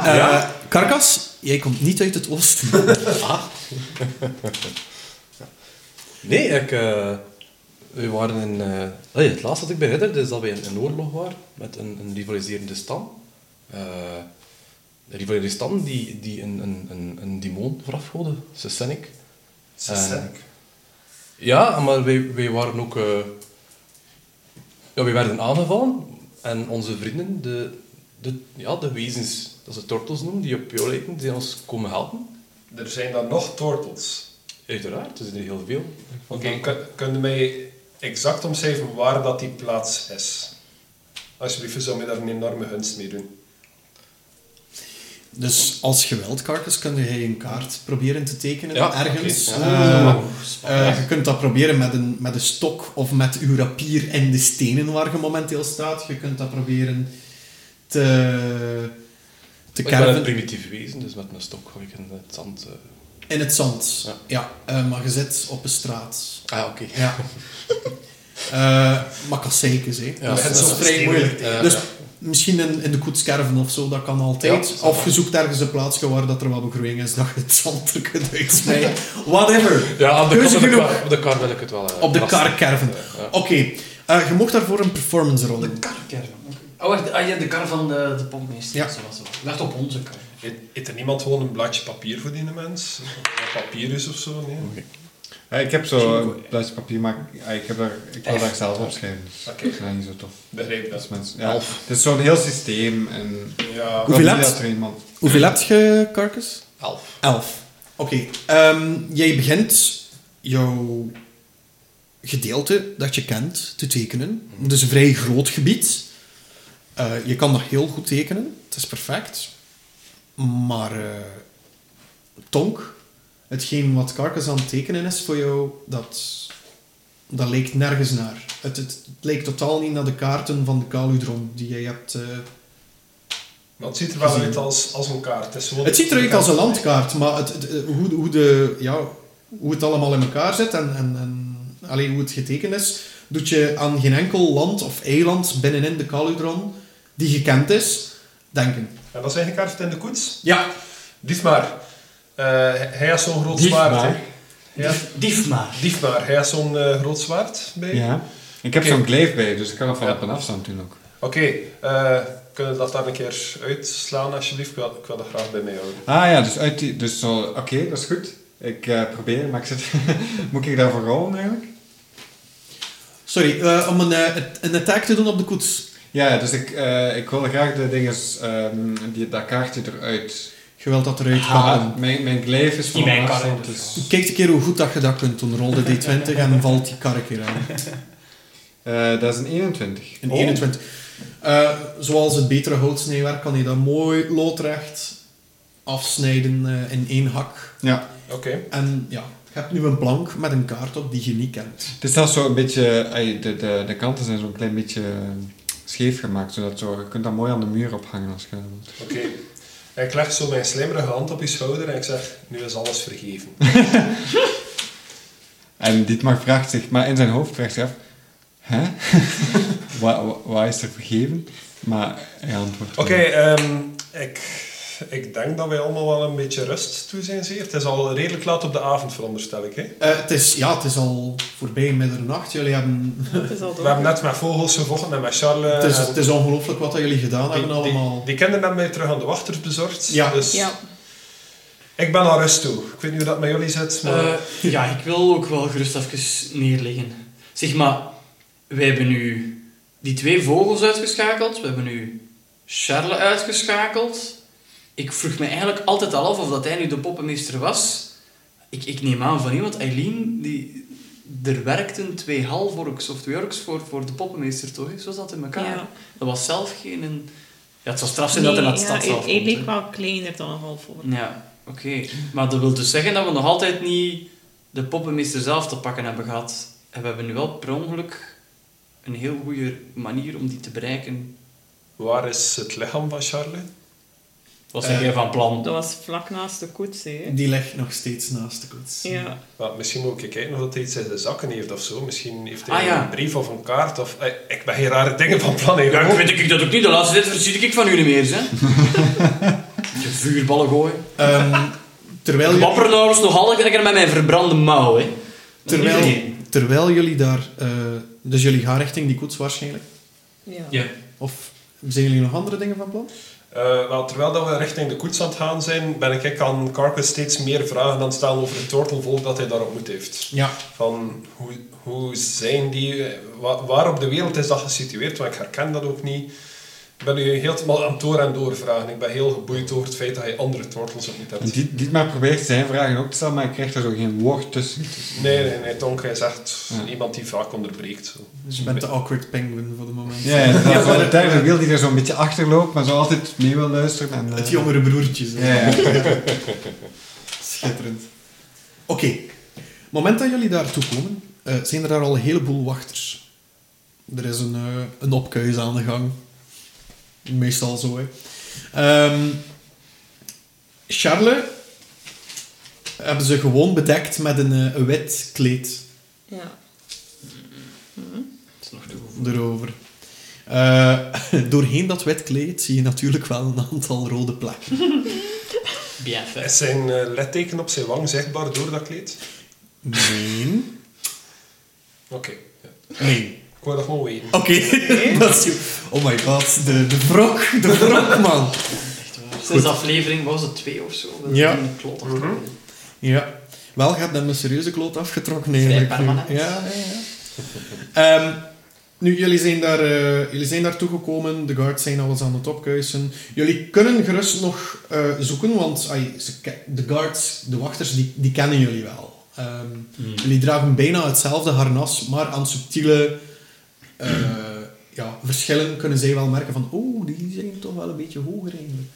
S1: Eh, Karkas, jij komt niet uit het oosten.
S5: Nee, ik... eh, we waren in... eh, allee, het laatste dat ik herinner is dat we in een oorlog waren met een, een rivaliserende stam. Eh, een rivaliserende stam die, die een, een, een, een demon voorafgoedde, Sessenic.
S6: Ze zijn ik.
S5: Ja, maar wij, wij waren ook eh, Ja, we werden aangevallen en onze vrienden, de, de, ja, de wezens, dat ze tortels noemen, die op jou lijken, die ons komen helpen.
S6: Er zijn daar nog tortels.
S5: Uiteraard, er zijn er heel veel.
S6: Oké, kun- kun je mij exact omschrijven waar dat die plaats is? Alsjeblieft, je zou mij daar een enorme gunst mee doen.
S1: Dus als geweldkarkers kun je een kaart proberen te tekenen
S5: Ja,
S1: ergens.
S5: oké.
S1: Eh, eh, je kunt dat proberen met een, met een stok of met uw rapier in de stenen waar je momenteel staat. Je kunt dat proberen te, te
S5: Ik ben een
S1: kerven
S5: primitief wezen, dus met een stok ga ik in het zand... eh.
S1: in het zand.
S5: Ja.
S1: Ja, eh, maar je zit op een straat.
S5: Ah, oké.
S1: Ja. Eh maar kasseikens, hè.
S5: Ja,
S1: dat is,
S5: het is
S1: dat is
S5: ook
S1: vrij moeilijk.
S5: tegen. Ja,
S1: dus
S5: ja.
S1: misschien in, in de koets kerven of zo, dat kan
S5: Ja,
S1: altijd.
S5: dat is
S1: of je
S5: waar.
S1: zoekt ergens een plaatsje waar dat er wat begroeiing is, dat je het zand er kunt uitsmijden. Whatever.
S5: Ja, aan de,
S1: Keuze
S5: kant van de
S1: genoeg.
S5: kar, op de kar wil ik het wel. eh,
S1: Op de
S5: lasten.
S1: kar kerven.
S5: Ja.
S1: Oké, eh, je mocht daarvoor een performance rol doen.
S2: Oh, wacht. Ah, ja, de kar van de, de pompmeester.
S1: Ja.
S2: Zo was het. Ik dacht op onze kar.
S6: Eet, eet er niemand gewoon een blaadje papier voor die mens? Wat papier is of zo? Nee. Oké.
S3: Ja, Eh, ik heb zo een blaadje papier, maar ik, eh, ik, heb daar, ik wil daar zelf op schrijven. Dus
S6: Oké.
S3: Ik vind dat niet zo tof.
S6: Begrijp
S3: Dat is
S6: dat.
S3: mensen, ja, het is zo'n heel systeem en...
S6: Ja.
S1: Hoeveel
S3: Ik wil niet
S1: hebt?
S3: dat er iemand...
S1: Hoeveel heb je, Carcass?
S5: Elf.
S1: Elf. Oké, ehm, jij begint jouw gedeelte dat je kent te tekenen. Het is een vrij groot gebied. Eh, je kan dat heel goed tekenen. Het is perfect. Maar eh, Tonk, hetgeen wat Carcass aan het tekenen is voor jou, dat, dat leek nergens naar. Het, het, het leek totaal niet naar de kaarten van de Caludron die jij hebt... eh,
S6: Maar het ziet er wel uit als, als een kaart. Het, is gewoon-
S1: Het ziet eruit als een landkaart, maar het, het- eh, hoe, hoe, de, ja, hoe het allemaal in elkaar zit en, en, en alleen hoe het getekend is, doet je aan geen enkel land of eiland binnenin de Caludron die gekend is, denken.
S6: En dat zijn de kaart in de koets.
S1: Ja,
S6: Diefmaar. Eh, hij had zo'n groot
S2: Diefmaar.
S6: zwaard. hè. Ja.
S2: Dief, dief maar.
S6: Diefmaar. Hij had zo'n eh, groot zwaard bij.
S3: Ja. Ik heb
S6: Oké.
S3: zo'n gleef bij, dus ik kan dat van
S6: Ja.
S3: op een afstand doen ook.
S6: Oké, eh, kunnen we dat daar een keer uitslaan alsjeblieft? Ik wil, ik wil dat graag bij mij houden.
S3: Ah ja, dus uit die... Dus zo... Oké, dat is goed. Ik eh, probeer, maar ik zit... Moet ik daarvoor rollen eigenlijk?
S1: sorry, eh, om een, eh, het- een attack te doen op de koets.
S3: Ja, dus ik, eh ik wil graag de dingen... ehm die, dat kaartje eruit...
S1: Je wilt dat eruit halen.
S3: halen. Ah, Mijn, mijn gleef is van
S2: In mijn
S3: een
S2: kar,
S3: afstand,
S2: dus.
S3: dus...
S1: Kijk een keer hoe goed dat je dat kunt doen. Rol de D20 en valt die kar een keer aan.
S3: eh, dat is een Oh. 21.
S1: Een 21. Eh, zoals het betere houtsnijwerk kan je dat mooi loodrecht afsnijden eh, in één hak.
S3: Ja.
S6: Oké.
S1: En ja, je hebt nu een plank met een kaart op die je niet kent.
S3: Het is zelfs zo een beetje, ey, de, de, de kanten zijn zo'n klein beetje eh, scheef gemaakt, zodat zo, je kunt dat mooi aan de muur ophangen als je dat wilt.
S6: Oké. En Ik leg zo mijn slimmerige hand op je schouder en ik zeg, nu is alles vergeven.
S3: En Dietmar vraagt zich, maar in zijn hoofd vraagt zich af, hè? Wa- wa- Waar is er vergeven? Maar hij antwoordt
S6: Oké,
S3: niet.
S6: ehm, ik, ik denk dat wij allemaal wel een beetje rust toe zijn zeer. Het is al redelijk laat op de avond, veronderstel ik. Hè?
S1: Eh, het, is, ja, het is al voorbij middernacht. Jullie hebben,
S4: Dat is al
S6: We hebben
S4: door.
S6: net met vogels gevochten en met
S3: Eh,
S6: Charles.
S1: het is,
S6: en
S1: het is ongelooflijk wat dat jullie gedaan
S6: die,
S1: hebben
S6: die,
S1: allemaal.
S6: die kinderen hebben mij terug aan de wachters bezorgd.
S1: Ja.
S6: Dus
S4: Ja.
S6: ik ben aan rust toe. Ik weet niet hoe dat met jullie zit, maar...
S2: Eh, ja, ik wil ook wel gerust even neerleggen. Zeg maar, wij hebben nu die twee vogels uitgeschakeld. We hebben nu Charles uitgeschakeld. Ik vroeg me eigenlijk altijd al af of dat hij nu de poppenmeester was. Ik, ik neem aan van iemand, Eileen, die... Er werkten twee halvorks of twee orks voor, voor de poppenmeester, toch? Zo zat het in elkaar.
S4: Ja.
S2: Dat was zelf geen... een- Ja, het zou straf zijn dat hij naar de stad zelf
S4: ja, ik
S2: komt, hè.
S4: leek wel kleiner dan een half voor.
S2: Ja, oké. Maar dat wil dus zeggen dat we nog altijd niet de poppenmeester zelf te pakken hebben gehad. En we hebben nu wel per ongeluk een heel goede manier om die te bereiken.
S6: Waar is het lichaam van Charles?
S2: Wat zeg jij van plan?
S4: Dat was vlak naast de koets, hè.
S1: Die ligt nog steeds naast de koets.
S4: Ja.
S6: Maar misschien moet ik kijken of dat hij iets in de zakken heeft of zo. Misschien heeft hij
S2: Ah, ja.
S6: een brief of een kaart. Of, Eh, ik ben geen rare dingen van plan. hè.
S2: Ja, ik weet ik dat ook niet. De laatste tijd verschiet ik van u niet meer, hè. Je vuurballen gooien.
S1: Ehm, terwijl, jullie,
S2: Wapper nou eens nog altijd lekker met mijn verbrande mouw, hè.
S1: terwijl, terwijl jullie daar... eh, dus jullie gaan richting die koets waarschijnlijk?
S4: Ja.
S2: Ja.
S1: Of zijn jullie nog andere dingen van plan?
S6: Eh, wel, terwijl dat we richting de koets aan het gaan zijn, ben ik aan Carcass steeds meer vragen aan het stellen over het tortelvolk dat hij daar ontmoet heeft.
S1: Ja.
S6: Van hoe, hoe zijn die, eh, wa- waar op de wereld is dat gesitueerd? Want ik herken dat ook niet. Ik ben nu helemaal aan het door en door vragen. Ik ben heel geboeid door het feit dat je andere tortels ook niet
S3: En
S6: hebt.
S3: die, die maar probeert zijn vragen ook te stellen, maar ik krijg daar zo geen woord tussen.
S6: Nee, nee, nee, Tonka is echt
S3: Ja.
S6: iemand die vaak onderbreekt. Zo.
S1: Dus je bent de awkward penguin voor de moment.
S3: Ja, ja, dat is wel de derde wiel die er zo'n beetje achter loopt, maar zo altijd mee wil luisteren. En, eh,
S1: Het jongere broertje. zo.
S3: Ja, ja.
S1: Schitterend. Oké. moment dat jullie daartoe komen, eh, zijn er daar al een heleboel wachters. Er is een, eh een opkuis aan de gang. Meestal zo, hè. Ehm, Charles hebben ze gewoon bedekt met een, eh, een wit kleed
S4: Ja.
S2: Het is nog te goed.
S1: erover. Eh, doorheen dat wit kleed zie je natuurlijk wel een aantal rode plekken.
S2: Bien fait.
S6: Is zijn eh, litteken op zijn wang zichtbaar door dat kleed?
S1: Nee.
S6: Oké,
S1: Nee.
S6: ik wou dat gewoon weten.
S1: Oké, dat is goed. Oh my god, de, de wrok, de wrok, man.
S2: Sinds aflevering was het twee of zo. Dat
S1: Ja.
S2: is een klot achter.
S1: Ja. Wel, je hebt hem een serieuze kloot afgetrokken
S2: Vrij
S1: eigenlijk.
S2: permanent.
S1: Ja, ja, ja. Ehm, nu, jullie zijn, daar, eh, jullie zijn daar toegekomen. De guards zijn al eens aan het opkuisen. Jullie kunnen gerust nog eh, zoeken, want ai, ze ke- de guards, de wachters, die, die kennen jullie wel. Ehm, Jullie dragen bijna hetzelfde harnas, maar aan subtiele eh, ja, verschillen kunnen zij wel merken van oh, die zijn toch wel een beetje hoger eigenlijk.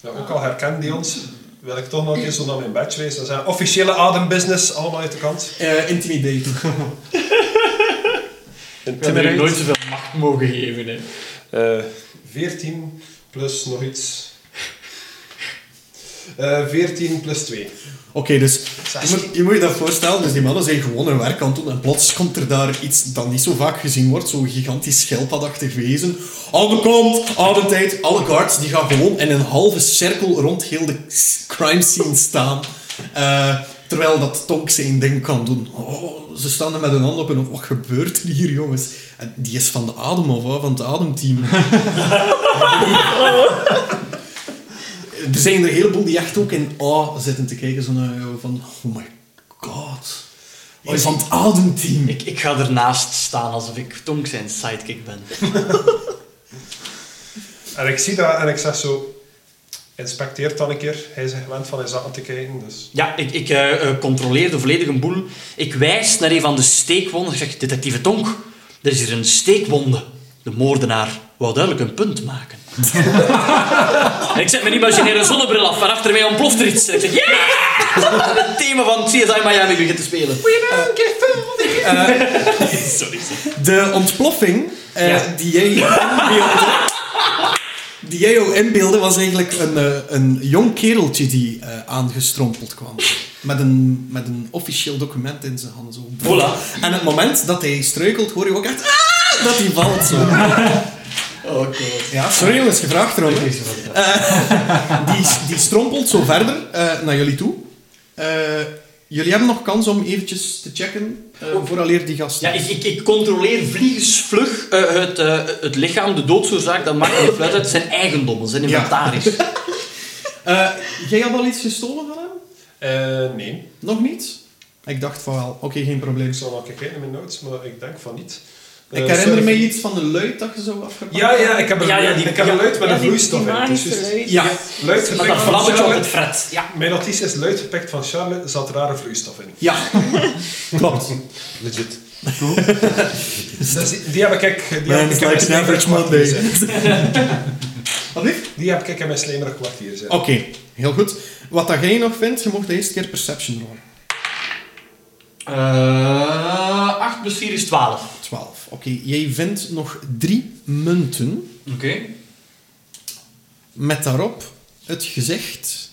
S6: Ja, ook al herkent die ons, wil ik toch nog een keer zo naar mijn badge wijzen en zeggen, officiële adembusiness, allemaal uit de kant.
S1: Eh intimidating.
S2: Ik heb jullie nooit zoveel macht mogen geven. Hè.
S6: Eh, 14 plus nog iets. Eh 14 plus 2.
S1: Oké, dus je moet, je moet je dat voorstellen. Dus die mannen zijn gewoon hun werk aan het doen en plots komt er daar iets dat niet zo vaak gezien wordt. Zo'n gigantisch schildpadachtig wezen. Alle kant, alle tijd, alle guards. Die gaan gewoon in een halve cirkel rond heel de s- crime scene staan. Eh, terwijl dat Tonk zijn ding kan doen. Oh, ze staan er met een hand op en oh, wat gebeurt er hier, jongens? En die is van de adem of wat? Van het ademteam. Er zijn er een heleboel die echt ook in awe zitten te kijken. Zo naar, jou van, oh my god. Hij is van het ademteam.
S2: Ik, ik ga ernaast staan alsof ik Tonk zijn sidekick ben.
S6: En ik zie dat en ik zeg zo, inspecteer dan een keer. Hij is gewend van zijn zakken te kijken, dus...
S2: Ja, ik, ik eh, eh, controleer de volledige boel. Ik wijs naar een van de steekwonden. Ik zeg, detectieve Tonk, er is hier een steekwonde. De moordenaar wou duidelijk een punt maken. en ik zet mijn imaginaire zonnebril af en achter mij ontploft er iets. En ik zeg, yeah! Het thema van CSI Miami begint te spelen. Eh, Sorry.
S1: De ontploffing eh,
S2: Ja.
S1: die jij inbeelde... Die jij jou inbeelde was eigenlijk een, eh, een jong kereltje die eh, aangestrompeld kwam. Met een, met een officieel document in zijn handen. Zo.
S2: Voilà.
S1: En het moment dat hij struikelt, hoor je ook echt... "Ah!" dat hij valt zo.
S2: Oh god.
S1: Ja, sorry jongens, gevraagd erom. hè. Eh, die, die strompelt zo verder eh, naar jullie toe. Eh, jullie hebben nog kans om eventjes te checken eh vooraleer die gast.
S2: Oh. Ja, ik, ik, ik controleer vliegensvlug eh, het, eh, het lichaam, de doodsoorzaak, dat maakt niet fluit uit, zijn eigendommen, zijn inventaris.
S1: Eh, jij had al iets gestolen van hem?
S6: Eh, nee.
S1: Nog niet? Ik dacht van wel, oké, geen probleem.
S6: Ik zal nog kijken in mijn notes, maar ik denk van niet.
S1: Ik
S6: Eh,
S1: herinner
S6: sorry.
S1: me iets van de luid dat je zo afgepakt
S6: Ja, ja, ik heb een,
S2: Ja, ja, die-
S6: ik heb een luid met
S4: Ja,
S6: een
S4: die-
S6: vloeistof dus-
S4: die
S6: in. Het is
S4: magische
S6: juist-
S4: luid.
S1: Ja,
S6: Luid
S2: Met
S6: gepikt
S2: dat
S6: van
S2: vlammetje op
S6: Charlotte.
S2: het fret. Ja.
S6: Mijn notitie is luid gepikt van Charlotte, zat rare vloeistof in.
S1: ja. klopt.
S5: Legit.
S6: Dus die, die heb ik... Die heb ik in mijn slijmerig kwartier
S1: Monday.
S6: zitten.
S1: Wat lief?
S6: Die heb ik in mijn slijmerig kwartier zitten.
S1: Oké, heel goed. Wat dat jij nog vindt, je mocht de eerste keer perception rollen.
S2: Eh 8 plus 4 is 12.
S1: 12. Oké, jij vindt nog drie munten.
S2: Oké.
S1: Met daarop het gezicht,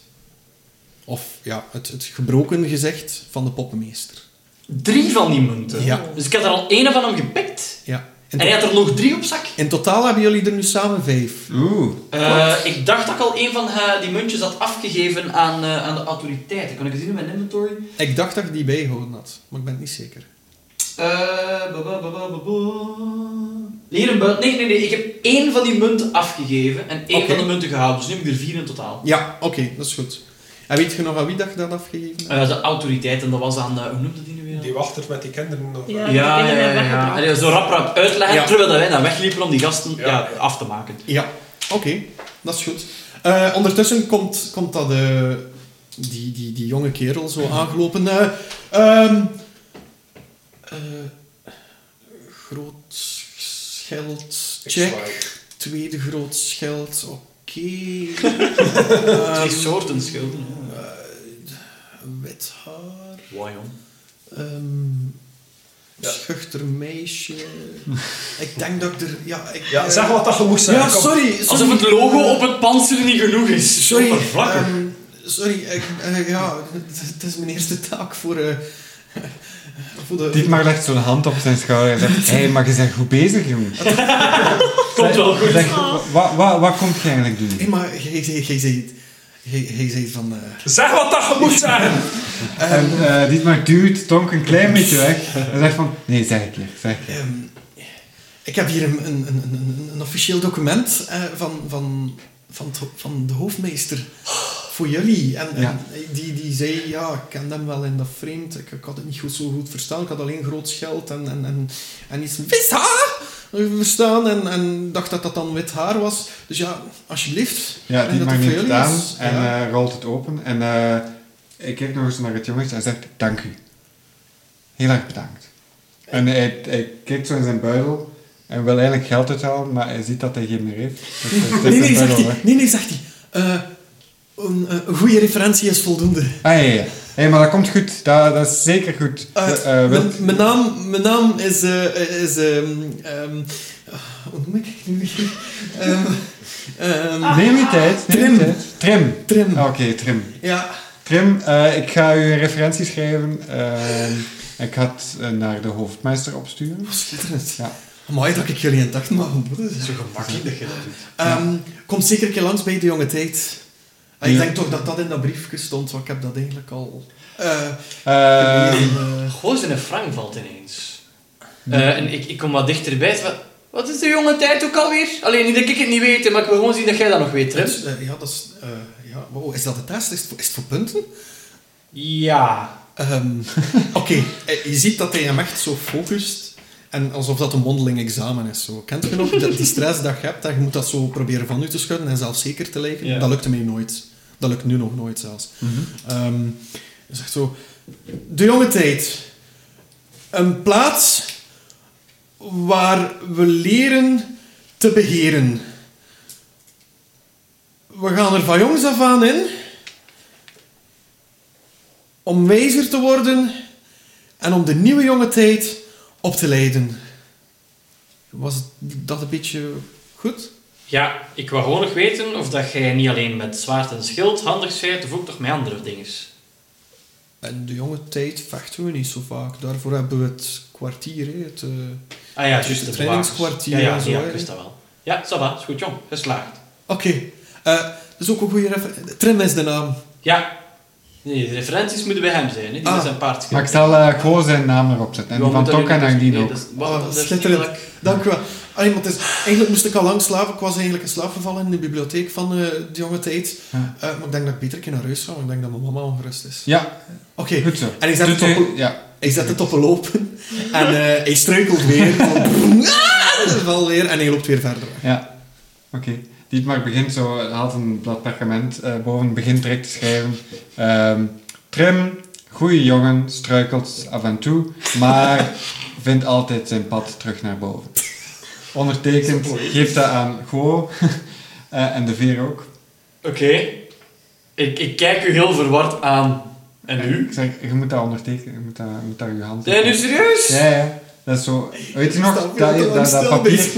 S1: of ja, het, het gebroken gezicht van de poppenmeester.
S2: Drie van die munten.
S1: Ja.
S2: Dus ik had er al één van hem gepikt.
S1: Ja. In,
S2: En
S1: to-
S2: hij had er nog drie op zak.
S1: in totaal hebben jullie er nu samen vijf.
S3: Oeh.
S2: Eh, ik dacht dat ik al één van eh, die muntjes had afgegeven aan, eh, aan de autoriteiten. Kan ik het zien in mijn inventory?
S1: Ik dacht dat ik die bijgehouden had, maar ik ben het niet zeker.
S2: Eh, ba, ba, ba, ba, ba, ba. Leren buiten. Nee, nee, nee. Ik heb één van die munten afgegeven en één
S1: Oké.
S2: van de munten gehaald. Dus nu heb ik er vier in totaal.
S1: Ja, oké, dat is goed. En weet je nog aan wie dat je dat afgegeven hebt?
S2: Eh, de autoriteit, en dat was aan... eh, hoe noemde die nu weer?
S6: Die wachtert met die kinderen nog.
S4: Ja.
S2: Ja, ja,
S4: die
S2: ja.
S4: kinderen
S2: ja.
S4: weggebracht.
S2: En die zo rap rap uitleggen,
S1: Ja.
S2: terwijl dat wij dan wegliepen om die gasten
S6: Ja.
S2: ja, af te maken.
S1: Ja, oké, dat is goed. Eh, ondertussen komt, komt dat, eh, die, die, die jonge kerel zo aangelopen. eh, ehm, eh, groot scheld,
S6: Ik
S1: check.
S6: zwaai.
S1: Tweede groot scheld, oké.
S2: Twee
S1: Ehm,
S2: soorten schulden. hè.
S1: wit haar.
S2: Wauw, jong.
S1: ehm,
S6: Ja.
S1: Schuchter meisje. ik denk dat ik er... Ja, ik,
S6: Ja,
S1: eh,
S6: zeg wat dat je moest zeggen.
S1: Ja,
S6: kom.
S1: sorry. sorry.
S2: Alsof het logo op het panzer niet genoeg is.
S1: Sorry,
S2: Oppervlakkig.
S1: ehm, sorry, ik, eh, ja, het- het is mijn eerste taak voor, eh, voor de...
S3: Dietmar legt zo'n hand op zijn schouder en zegt... Hé, hey, maar je bent goed bezig, jongen.
S2: Komt wel goed.
S3: Zeg, wa- wa- wat komt je eigenlijk doen?
S1: Hey, maar jij zei- jij zei- jij- jij zei van... eh,
S6: Zeg wat dat je moest zeggen.
S3: En eh, Dietmar duwt Tonk een klein beetje weg. En zegt van... Nee, zeg het keer, zeg het keer.
S1: ehm, ik heb hier een, een, een, een, een officieel document eh, van, van, van, het ho- van de hoofdmeester voor jullie. En, en
S3: Ja.
S1: die, die zei, ja, ik ken hem wel in dat vreemd. Ik, ik had het niet goed, zo goed verstaan. Ik had alleen groot scheld en, en, en, en iets... Wist haar! Verstaan en, en dacht dat dat dan wit haar was. Dus ja, alsjeblieft.
S3: Ja,
S1: breng
S3: Dietmar
S1: dat
S3: neemt
S1: voor
S3: het
S1: jullie
S3: aan
S1: is.
S3: en
S1: Ja.
S3: eh, rolt het open. En eh, ik kijk nog eens naar het jongetje en zegt... Dank u. Heel erg bedankt. En hij, hij kijkt zo in zijn buidel. En wil eigenlijk geld uithalen, maar hij ziet dat hij geen meer heeft. Dus hij steekt
S1: Nee,
S3: zijn
S1: nee, zegt
S3: buidel
S1: hij.
S3: weg.
S1: Nee, nee, zegt hij. Eh, een, eh, een goede referentie is voldoende.
S3: Ah, ja, ja. ja. Hé, maar dat komt goed. Dat, dat is zeker goed.
S1: Eh,
S3: De- eh, wil-
S1: mijn- mijn, naam, mijn naam is... eh is ehm ehm hoe noem ik het nu? weer? Ehm ehm,
S3: Neem je tijd. Neem
S1: Trim.
S3: Je tijd. Trim.
S1: Trim.
S3: Ah, Oké, Trim.
S1: Ja.
S3: Trim, eh, ik ga u een referentie schrijven. Ehm, ik ga het eh, naar de hoofdmeester opsturen.
S1: Oh, schitterend.
S3: Ja.
S1: Amai, dat ik jullie in dacht mag ontmoeten.
S2: Zo gemakkelijk dat je dat doet.
S1: Ehm, Kom zeker een keer langs bij de jonge tijd. Ah, ik
S3: Ja.
S1: denk toch dat dat in dat briefje stond, want ik heb dat eigenlijk al... eh
S3: Ehm,
S1: eh,
S2: Goos en Frank valt ineens. Eh, en ik, ik kom wat dichterbij. Wat, wat is de jonge tijd ook alweer? Alleen niet dat ik het niet weet, maar ik wil gewoon zien dat jij dat nog weet, Trim.
S1: dus, eh, ja, dat is... eh, ja. Wow, is dat de test? Is het voor- is het voor punten?
S2: Ja.
S1: Ehm, Oké, eh, je ziet dat hij hem echt zo focust. En alsof dat een mondeling examen is. Zo. Kent je nog dat die stress dat je hebt? Dat je moet dat zo proberen van u te schudden en zelfzeker te lijken.
S2: Ja.
S1: Dat lukt mij nooit. Dat lukt nu nog nooit zelfs. Ehm, hij zegt zo... De jonge tijd. Een plaats waar we leren te beheren. We gaan er van jongs af aan in om wijzer te worden en om de nieuwe jonge tijd op te leiden. Was het- dat een beetje goed?
S2: Ja, ik wou gewoon nog weten of dat jij niet alleen met zwaard en schild handig bent, of ook nog met andere dingen.
S1: En de jonge tijd vechten we niet zo vaak. Daarvoor hebben we het kwartier, hè, het, eh,
S2: Ah ja, juist de
S1: Het
S2: bewakers.
S1: trainingskwartier
S2: Ja, ja,
S1: en zo,
S2: ja,
S1: hè.
S2: ik wist dat wel. Ja, ça va, is goed jong, geslaagd.
S1: Oké, Eh, dat is ook een goede referentie. Trim is de naam.
S2: Ja. Nee, de referenties moeten bij hem zijn, hè. die
S1: Ah.
S2: met zijn paard
S3: maar ik zal eh, gewoon zijn naam erop zetten. En die van Tonk en Agdien ook.
S1: Oh, schitterend. Dank u wel. Allee, maar het is, eigenlijk moest ik al lang slapen. Ik was eigenlijk in slaap gevallen in de bibliotheek van eh, de jonge tijd.
S3: Ja.
S1: Eh, maar ik denk dat ik beter een keer naar huis ga, want ik denk dat mijn mama ongerust is.
S3: Ja,
S1: Oké,
S3: goed zo.
S1: en ik zet
S3: Doet
S1: het
S3: u-
S1: op...
S3: Ja.
S1: Ik zet het op een lopen en eh, hij struikelt weer. Van, Ah, dat valt weer en hij loopt weer verder weg.
S3: Ja, oké. Dietmar begint zo, haalt een blad perkament eh, boven, begint direct te schrijven. Ehm, trim, goede jongen, struikelt af en toe, maar vindt altijd zijn pad terug naar boven. Ondertekend, geeft dat aan Go eh, en de veer ook.
S2: Oké. Ik, ik kijk u heel verward aan. En u?
S3: Ik zeg, je moet dat ondertekenen, je moet, dat, je moet daar je hand
S2: Zijn u serieus?
S3: Ja, ja. Dat is zo, weet je nog,
S1: Ik sta
S3: dat,
S1: veel te
S3: dat,
S1: lang
S3: dat,
S1: stil
S3: papier,
S1: bezig.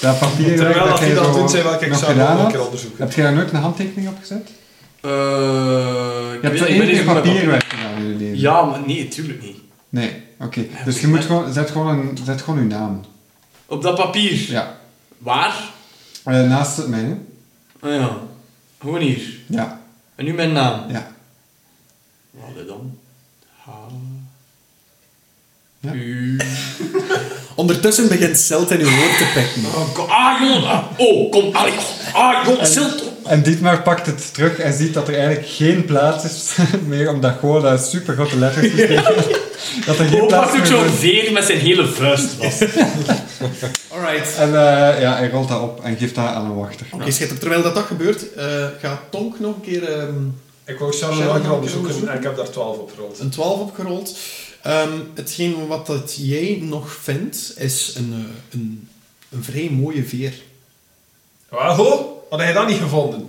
S3: dat papier
S6: Terwijl dat hij
S3: jij
S6: dat
S3: zo
S6: doet, zei welke
S3: nog
S6: examen
S3: gedaan
S6: nog een keer
S3: had.
S6: onderzoeken.
S3: Heb jij daar nooit een handtekening op gezet?
S2: Eh, ik
S3: Je hebt
S2: weet-
S3: zo
S2: ik
S3: één
S2: ben
S3: keer
S2: even met-
S3: papierwerk gedaan in je leven.
S2: Ja, maar nee, tuurlijk niet.
S3: Nee, oké. Dus je moet gewoon, zet gewoon, een, zet gewoon uw naam.
S2: Op dat papier.
S3: Ja.
S2: Waar?
S3: Eh, naast het mijne.
S2: Ah ja. Gewoon hier.
S3: Ja.
S2: En nu mijn naam.
S3: Ja.
S2: Allee dan. H.
S1: Ondertussen begint Selt in uw woord te pikken.
S2: Oh, ko- Ah, jongen. ah, Oh, kom. Allee. Ah, jongen. Zult.
S3: En Dietmar pakt het terug en ziet dat er eigenlijk geen plaats is meer, omdat gewoon dat super grote letters is. Dat er geen
S2: Ook
S3: plaats
S2: Oh, was ook
S3: meer
S2: zo'n
S3: voor
S2: veer met zijn hele vuist was.
S1: Alright.
S3: En eh, ja, hij rolt dat op en geeft dat aan een wachter.
S1: Oké, schitterend. Terwijl dat, dat gebeurt, eh, gaat Tonk nog een keer ehm,
S6: Ik wou Charlotte
S1: Charlotte
S6: wel gaan
S1: ook
S6: bezoeken
S1: zoeken.
S6: en ik heb daar 12 op rond.
S1: een 12 opgerold. Ehm, hetgeen wat dat jij nog vindt, is een, eh, een, een vrij mooie veer.
S6: Wago, had hij dat niet gevonden?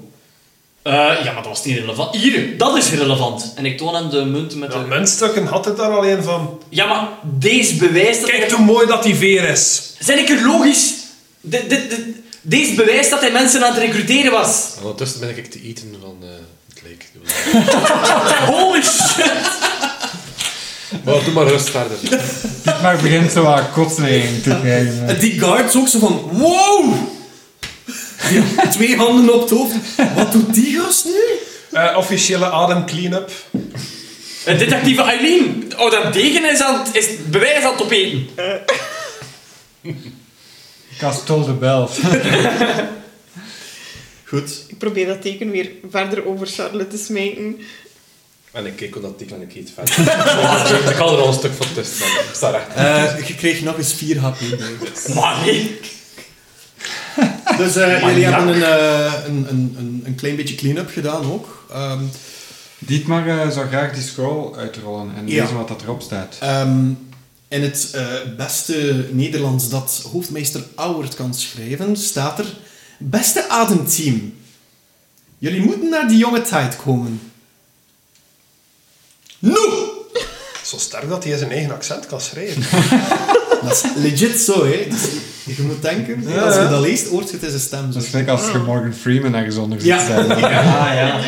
S2: Eh, ja, maar dat was niet relevant. Hier, dat is relevant. En ik toon hem de munten met
S6: Dat
S2: de...
S6: muntstukken had het daar alleen van.
S2: Ja, maar deze bewijst dat... hij-
S6: Kijk hoe mooi dat die veer is.
S2: Zijn ik er logisch? Dit- dit- dit- Deze bewijst dat hij mensen aan het recruteren was.
S5: En ondertussen ben ik te eten van eh, het lijk.
S2: Holy shit.
S5: Maar doe maar rust verder.
S3: Dietmar begint zo aan kotsnering te krijgen.
S1: En die guards ook zo van, wow! Die had twee handen op het hoofd. Wat doet die gast nu?
S6: Eh, officiële adem clean-up.
S2: Een Eh, detectieve Eileen. Oh, dat degen is, aan het, is het bewijs aan het opeten.
S3: Castol de Bel.
S1: Goed.
S4: Ik probeer dat teken weer verder over Charlotte te smijten.
S5: En ik kijk op dat teken en ik eet verder. ik haal er al een stuk van tussen. dan. Ik sta recht.
S1: Eh, je kreeg nog eens 4 HP bij.
S2: Maar nee.
S1: Dus eh, jullie hebben een, eh, een, een, een, een klein beetje clean-up gedaan ook. Ehm,
S3: Dietmar eh, zou graag die scroll uitrollen en
S1: Ja.
S3: lezen wat dat erop staat.
S1: Ehm, in het eh, beste Nederlands dat hoofdmeester Auwert kan schrijven, staat er... Beste ademteam, jullie moeten naar die jonge tijd komen. Nou, Nu!
S6: Zo sterk dat hij zijn eigen accent kan schrijven.
S1: Dat is legit zo, hè. Dus je moet denken,
S6: Ja,
S1: als je
S6: ja.
S1: dat leest, hoort je het in zijn stem zo.
S3: Dat is gelijk als je Morgan Freeman ergens onder ziet
S1: Ja.
S3: zijn.
S2: Ah, ja.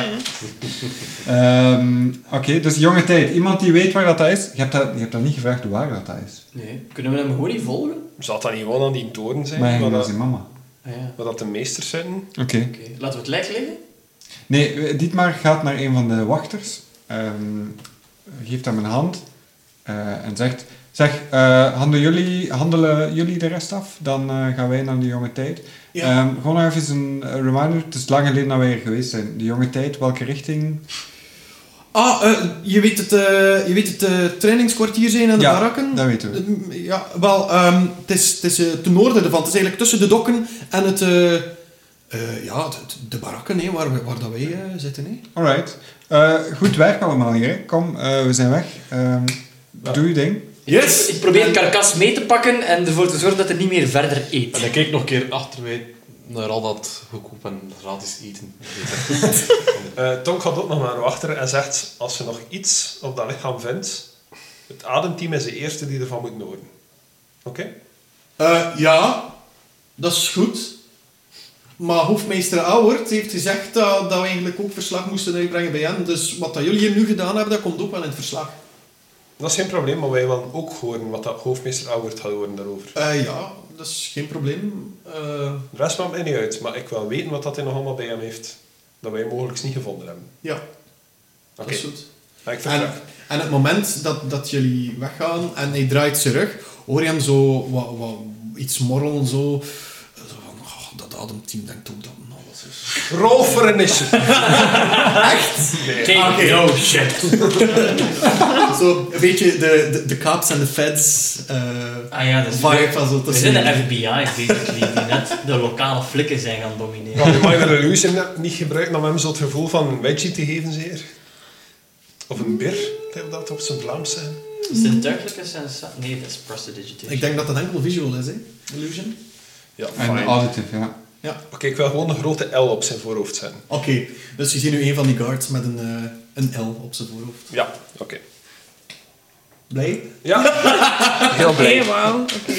S3: Ehm, Oké, dus jonge tijd. Iemand die weet waar dat is? Je hebt dat, je hebt dat niet gevraagd waar dat is.
S2: Nee. Kunnen we hem gewoon niet volgen?
S6: Zou dat niet gewoon aan die toren zijn?
S3: Maar hij
S6: waar,
S3: ging naar
S6: dat,
S3: zijn mama.
S2: Ah, ja.
S6: waar dat de meesters zitten?
S3: Oké.
S2: Oké. Laten we het lijk liggen.
S3: Nee, eh, Dietmar gaat naar een van de wachters, ehm, geeft hem een hand eh, en zegt... Zeg, eh, handelen, jullie, handelen jullie de rest af? Dan eh, gaan wij naar de jonge tijd.
S1: Ja.
S3: Ehm, gewoon nog even een eh, reminder. Het is lang geleden dat wij er geweest zijn. De jonge tijd, welke richting?
S1: Ah, eh, je weet het, eh, je weet het eh, trainingskwartier zijn aan de
S3: Ja,
S1: barakken?
S3: dat weten we.
S1: Eh, ja, wel, ehm, het is, het is eh, ten noorden ervan. Het is eigenlijk tussen de dokken en het... eh, eh, ja, de, de barakken, hè, waar, we- waar dat wij eh, zitten. Hè.
S3: Alright. Eh, goed werk allemaal hier. hè. Kom, eh, we zijn weg. Ehm, Doe je ding.
S1: Yes!
S2: Ik probeer het karkas mee te pakken en ervoor te zorgen dat hij niet meer verder eet.
S5: En ik kijk nog een keer achter mij naar al dat goedkoop en gratis eten.
S6: Eh Tonk gaat ook nog maar wachten en zegt, als je nog iets op dat lichaam vindt, het ademteam is de eerste die ervan moet horen. Oké?
S1: Eh, ja, dat is goed. Maar hoofdmeester Auwert heeft gezegd dat, dat we eigenlijk ook verslag moesten uitbrengen bij hen. Dus wat dat jullie hier nu gedaan hebben, dat komt ook wel in het verslag.
S6: Dat is geen probleem, maar wij willen ook horen wat dat hoofdmeester Albert gaat horen daarover.
S1: Eh, ja, dat is geen probleem. Eh,
S6: De rest maakt mij niet uit, maar ik wil weten wat dat hij nog allemaal bij hem heeft. Dat wij mogelijk niet gevonden hebben.
S1: ja,
S6: Oké,
S1: dat is goed.
S6: Maar ik vertrek.
S1: En, en het moment dat, dat jullie weggaan en hij draait ze terug, hoor je hem zo wat, wat, iets morrelen. Zo, zo van, oh, dat ademteam denkt ook dat het alles is.
S6: Roll for initiative. Echt? Nee.
S2: Kijk,
S6: Oh,
S2: no shit.
S3: Oh,
S1: zo, een beetje de, de, de cops en de feds eh,
S8: Ah ja, dat is
S1: vibe van zo
S8: We
S1: tussen
S8: zijn de
S1: jullie.
S8: FBI, basically, die net de lokale flikken zijn gaan domineren.
S6: Kan je Minor Illusion net niet gebruiken om hem zo het gevoel van een wedgie te geven, zeer? Of een bir, lijkt dat op zijn Vlaams zijn.
S8: Is dit duidelijk? Is een sa- Nee, dat is prestidigitation.
S1: Ik denk dat dat enkel visual is, hè? Illusion.
S6: Ja,
S3: En
S6: fijn. Oké,
S3: auditive, ja.
S1: Eh,
S6: ik wil gewoon een grote L op zijn voorhoofd zetten.
S1: Oké, dus je ziet nu een van die guards met een, eh, een L op zijn voorhoofd.
S6: Ja, oké.
S1: Blij?
S6: Ja,
S5: Heel
S4: Oké, wauw. Oké.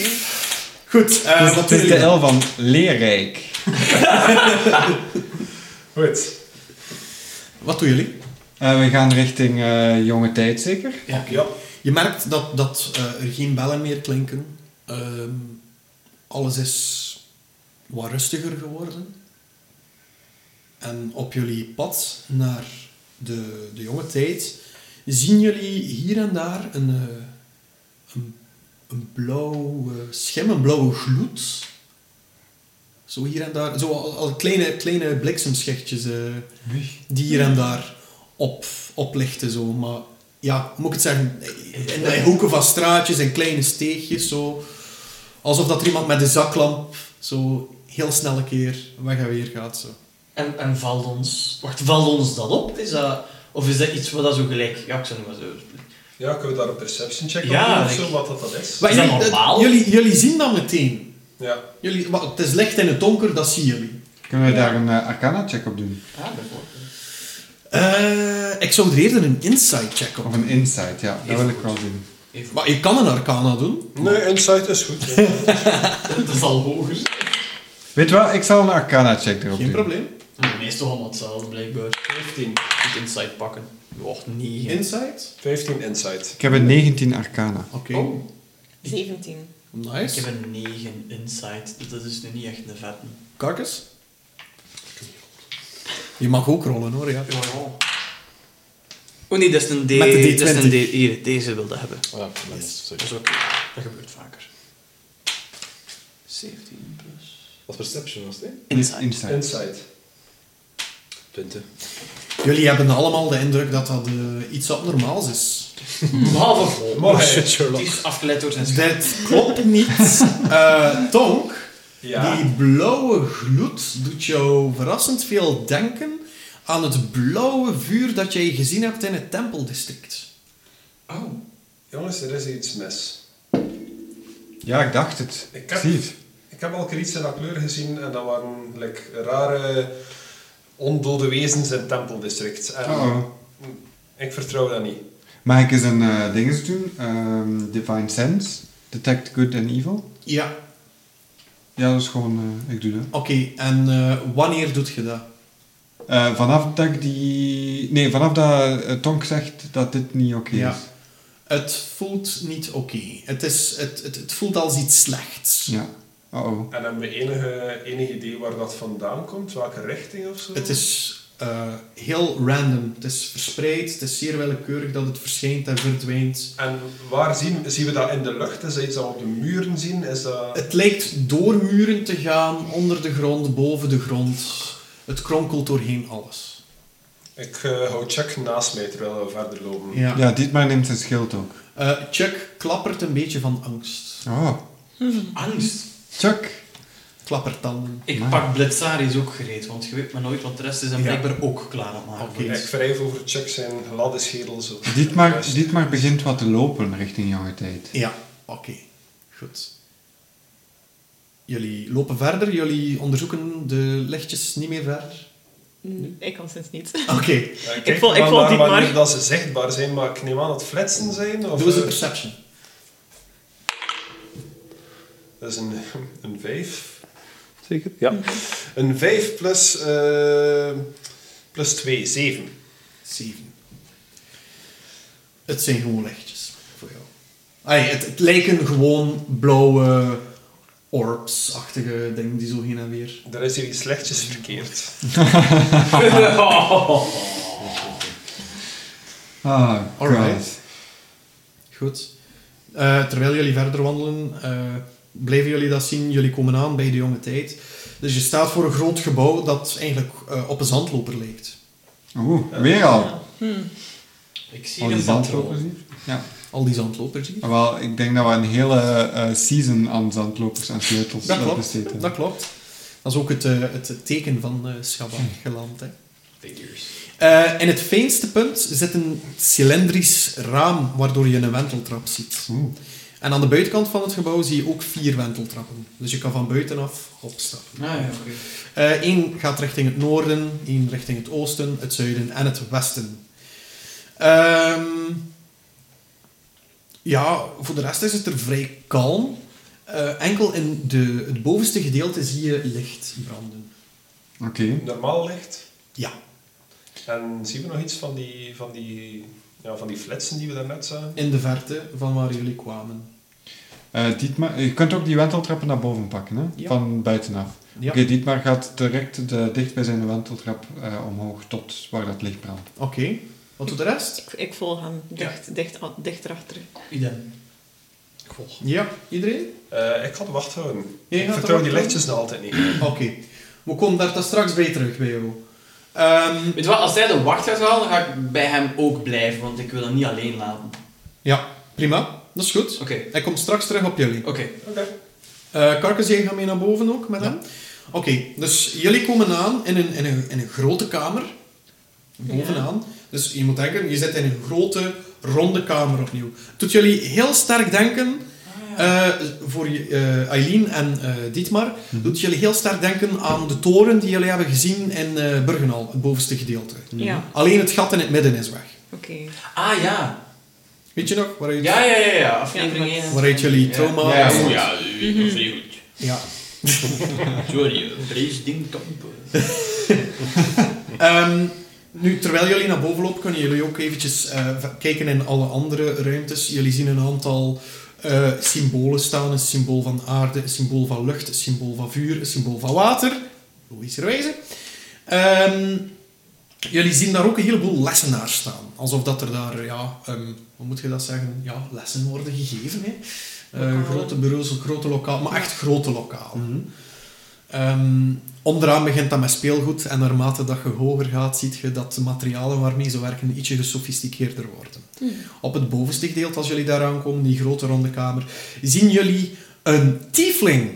S1: Goed, eh,
S3: Dus
S1: wat
S3: dat
S1: doen
S3: is de
S1: jullie?
S3: L van leerrijk.
S6: goed.
S1: Wat doen jullie?
S3: Eh, we gaan richting eh, jonge tijd, zeker?
S6: Ja.
S1: Je merkt dat, dat eh, er geen bellen meer klinken. Ehm, alles is wat rustiger geworden. En op jullie pad naar de, de jonge tijd zien jullie hier en daar een, eh, een een blauwe schim, een blauwe gloed. Zo hier en daar, zo al, al kleine, kleine bliksemschichtjes eh, die hier en daar op, oplichten. Zo. Maar ja, hoe moet ik het zeggen? In de hoeken van straatjes en kleine steegjes. Zo. Alsof dat er iemand met een zaklamp zo heel snel een keer weg en weer gaat. Zo.
S8: En, en valt ons... Wacht, valt ons dat op? Is dat, of is dat iets wat dat zo gelijk... Ja, ik zou het maar zo...
S6: Ja, kunnen we daar een perception check op
S8: Ja,
S6: doen of
S8: ik-
S6: zo, wat dat, dat is?
S1: Maar
S8: Is dat
S1: jullie- eh,
S8: normaal?
S1: jullie, jullie zien dat meteen.
S6: Ja.
S1: Jullie, wa- het is licht in het donker, dat zien jullie.
S3: Kunnen we daar een eh, arcana-check op doen?
S8: Ja, bijvoorbeeld.
S1: Eh, ik zou er eerder een inside check op
S3: Of
S1: doen.
S3: een insight, ja. Dat wil ik wel doen.
S1: Maar je kan een arcana doen.
S6: Nee, insight is goed. ja.
S8: Dat is al hoger.
S3: Weet je wat? Ik zal een arcana-check erop
S1: Geen
S3: doen.
S1: probleem.
S8: Meestal allemaal hetzelfde, blijkbaar.
S6: 15.
S2: Het inside pakken. Och, niet.
S1: Inside.
S6: 15 insight.
S3: Ik heb een 19 arcana.
S1: Oké.
S4: 17.
S8: Oh. Ik
S1: Nice.
S8: heb een 9 insight. Dat is nu niet echt een vette.
S1: Karkes. Je mag ook rollen hoor, ja.
S2: Oh nee, dat is een D.
S1: Met de D20.
S2: Dat is een D. Hier, deze wilde hebben.
S5: Oh ja, dat is- sorry.
S2: Dat is oké. Dat gebeurt vaker. 17 plus...
S5: Wat perception was het, hè?
S3: Insight.
S2: Inside.
S6: Insight.
S5: 20.
S1: Jullie hebben allemaal de indruk dat dat eh, iets abnormaals is.
S8: Behalve vol.
S2: Oh,
S6: Mooi.
S8: Die is afgeleid door zijn schrijf.
S1: Dit klopt niet. Eh, Tonk,
S6: Ja.
S1: die blauwe gloed doet jou verrassend veel denken aan het blauwe vuur dat jij gezien hebt in het tempeldistrict.
S2: Oh.
S6: Jongens, er is iets mis.
S3: Ja, ik dacht het.
S6: Ik heb-
S3: Zie het.
S6: Ik heb al een keer iets in dat kleur gezien en dat waren like, rare ondode wezens in het tempeldistrict. En
S3: Uh-oh.
S6: Ik vertrouw dat niet.
S3: Mag ik eens een eh ding eens doen? Ehm, Divine Sense. Detect good and evil.
S1: Ja,
S3: Ja, dat is gewoon... eh, ik doe dat.
S1: oké. En eh, wanneer doet je dat?
S3: Eh, vanaf dat ik die... Nee, vanaf dat eh, Tonk zegt dat dit niet oké
S1: Ja.
S3: is.
S1: Het voelt niet oké. Het, is- het, het, het voelt als iets slechts.
S3: Ja. Uh-oh.
S6: En hebben we enige, enig idee waar dat vandaan komt? Welke richting of zo?
S1: Het is eh, heel random. Het is verspreid. Het is zeer willekeurig dat het verschijnt en verdwijnt.
S6: En waar zien, zien we dat in de lucht? Is dat iets dat we op de muren zien? Is dat...
S1: Het lijkt door muren te gaan, onder de grond, boven de grond. Het kronkelt doorheen alles.
S6: Ik eh, hou check naast mij terwijl we verder lopen.
S1: Ja.
S3: Ja, Dietmar neemt zijn schild ook.
S1: Eh, Chuck klappert een beetje van angst.
S3: Oh.
S8: Angst.
S3: Chuck.
S1: Klappertanden.
S8: Ik
S3: Maar-
S8: pak Blitzaris ook gereed, want je weet maar nooit, want de rest is hem blijkbaar ook klaar aan het maken.
S1: Oké.
S6: Ik wrijf over Chuck zijn gladde schedel zo.
S3: Dietmar,
S6: Juist.
S3: Dietmar begint wat te lopen richting jouw tijd.
S1: Ja, oké. Goed. Jullie lopen verder. Jullie onderzoeken de lichtjes niet meer verder.
S4: Mm, Ik kan sinds niet.
S6: Ah.
S1: Oké.
S6: Ja, ik
S8: val- ik
S6: wel
S8: val
S6: naar
S8: Dietmar.
S6: wanneer dat ze zichtbaar zijn, maar ik neem aan dat het flitsen zijn. Of,
S1: Doe eens een
S6: eh,
S1: perception.
S6: dat is een, een vijf.
S5: Zeker? Ja.
S6: Een 5 plus, eh, plus 2, 7.
S1: 7. Het zijn gewoon lichtjes voor jou. Ai, het, het lijken gewoon blauwe orbs-achtige dingen die zo heen en weer.
S6: Er is hier iets slechtjes verkeerd.
S3: Ah, god.
S1: Alright. Goed. Eh, terwijl jullie verder wandelen, eh, blijven jullie dat zien. Jullie komen aan bij de jonge tijd. Dus je staat voor een groot gebouw dat eigenlijk eh, op een zandloper lijkt.
S3: Oeh, weer al.
S8: Ik
S3: Al
S8: zie
S3: die
S8: een
S3: zandlopers
S8: patroon.
S3: hier. Ja.
S1: Al die zandlopers hier.
S3: Wel, ik denk dat we een hele eh, season aan zandlopers en sleutels
S1: Dat
S3: eh,
S1: klopt.
S3: besteed hebben.
S1: Dat klopt. Dat is ook het, eh, het teken van eh Schabaan geland. Hè.
S8: Figures.
S1: Eh, in het fijnste punt zit een cilindrisch raam waardoor je een wenteltrap ziet.
S3: Oeh.
S1: En aan de buitenkant van het gebouw zie je ook vier wenteltrappen. Dus je kan van buitenaf
S8: Ah
S1: opstappen.
S8: ja, oké.
S1: Eén gaat richting het noorden, één richting het oosten, het zuiden en het westen. Ehm, ja, voor de rest is het er vrij kalm. Eh, enkel in de, het bovenste gedeelte zie je licht branden.
S3: Oké.
S6: Normaal licht.
S1: Ja.
S6: En zien we nog iets van die, van die, ja, van die flitsen die we daarnet zagen?
S1: In de verte van waar jullie kwamen.
S3: Eh, Dietmar, je kunt ook die wenteltrappen naar boven pakken, hè?
S1: Ja.
S3: Van buitenaf.
S1: Ja.
S3: Oké, Dietmar gaat direct de dichtbijzijnde wenteltrap eh, omhoog tot waar dat licht brandt.
S1: Oké. Wat doet de rest?
S4: Ik, ik volg hem dicht, dicht, dicht erachter.
S8: Idem.
S1: Ja, iedereen?
S6: Eh, ik ga de wacht houden.
S1: Jij
S6: Ik
S1: gaat de
S6: vertrouw die
S1: wacht
S6: lichtjes nog altijd niet.
S1: Oké. We komen daar dan straks bij terug, bij jou. Ehm,
S2: Weet je wat, als hij de wacht gaat halen, dan ga ik bij hem ook blijven, want ik wil hem niet alleen laten.
S1: ja, prima. Dat is goed.
S2: Oké,
S1: Hij komt straks terug op jullie.
S2: oké.
S6: Oké.
S1: Eh Carcass, jij gaat mee naar boven ook met hem? Oké, dus jullie komen aan in een, in een, in een grote kamer. Bovenaan. Dus je moet denken, je zit in een grote, ronde kamer opnieuw. Het doet jullie heel sterk denken...
S3: Ah,
S1: eh, voor je- eh, Eileen en eh, Dietmar
S3: Mhm.
S1: doet jullie heel sterk denken aan de toren die jullie hebben gezien in eh Burgenal, het bovenste gedeelte.
S3: Mhm.
S4: Ja,
S1: Alleen het gat in het midden is weg.
S4: oké.
S2: Ah ja.
S1: Weet je nog? Waaruit,
S2: Ja, ja, ja, ja. Aflevering
S4: Ja,
S2: 1.
S1: waaruit jullie trauma...
S3: Ja,
S1: ja.
S3: ja.
S2: vrij goed.
S1: ja.
S2: Sorry, Vreesdingkampen.
S1: Ehm, nu, terwijl jullie naar boven lopen, kunnen jullie ook eventjes eh, v- kijken in alle andere ruimtes. Jullie zien een aantal eh, symbolen staan. Een symbool van aarde, een symbool van lucht, een symbool van vuur, een symbool van water. Logischerwijze. Ehm jullie zien daar ook een heleboel lessenaars staan. Alsof dat er daar, ja, ehm, hoe moet je dat zeggen? Ja, lessen worden gegeven. Hè? Eh,
S4: Lokalen.
S1: grote bureaus, grote lokalen, maar echt grote lokalen. Ehm, onderaan begint dat met speelgoed en naarmate dat je hoger gaat, ziet je dat de materialen waarmee ze werken ietsje gesofisticeerder worden. Op het bovenste gedeelte, als jullie daar aankomen, die grote ronde kamer, zien jullie een tiefling.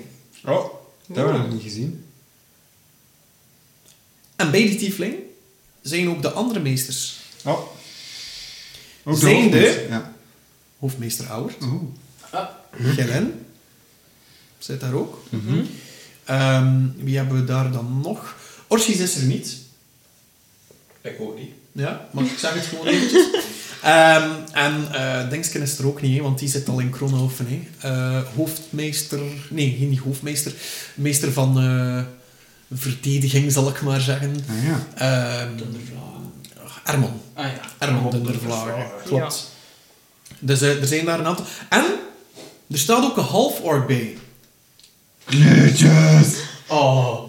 S3: Oh, dat hebben we nog niet gezien.
S1: En bij die tiefling zijn ook de andere meesters.
S3: Oh. Ook de
S1: Zijnde?
S3: hoofdmens, Ja.
S1: Hoofdmeester Auwert,
S3: Oeh.
S1: Gelen, zit daar ook. Ehm, wie hebben we daar dan nog? Orsies is er niet.
S6: Ik ook niet.
S1: Ja, maar ik zeg het gewoon eventjes. Ehm, en eh Dingsken is er ook niet, hè, want die zit al in Kronhoven. hè. Eh, hoofdmeester... Nee, geen hoofdmeester. Meester van eh, verdediging, zal ik maar zeggen.
S3: Ah, ja.
S1: Ehm Ermon.
S2: Ah ja.
S1: Ermon Dundervlagen, klopt. Dus eh, er zijn daar een aantal... En er staat ook een half-orc bij.
S3: Kleurtjes!
S2: Oh.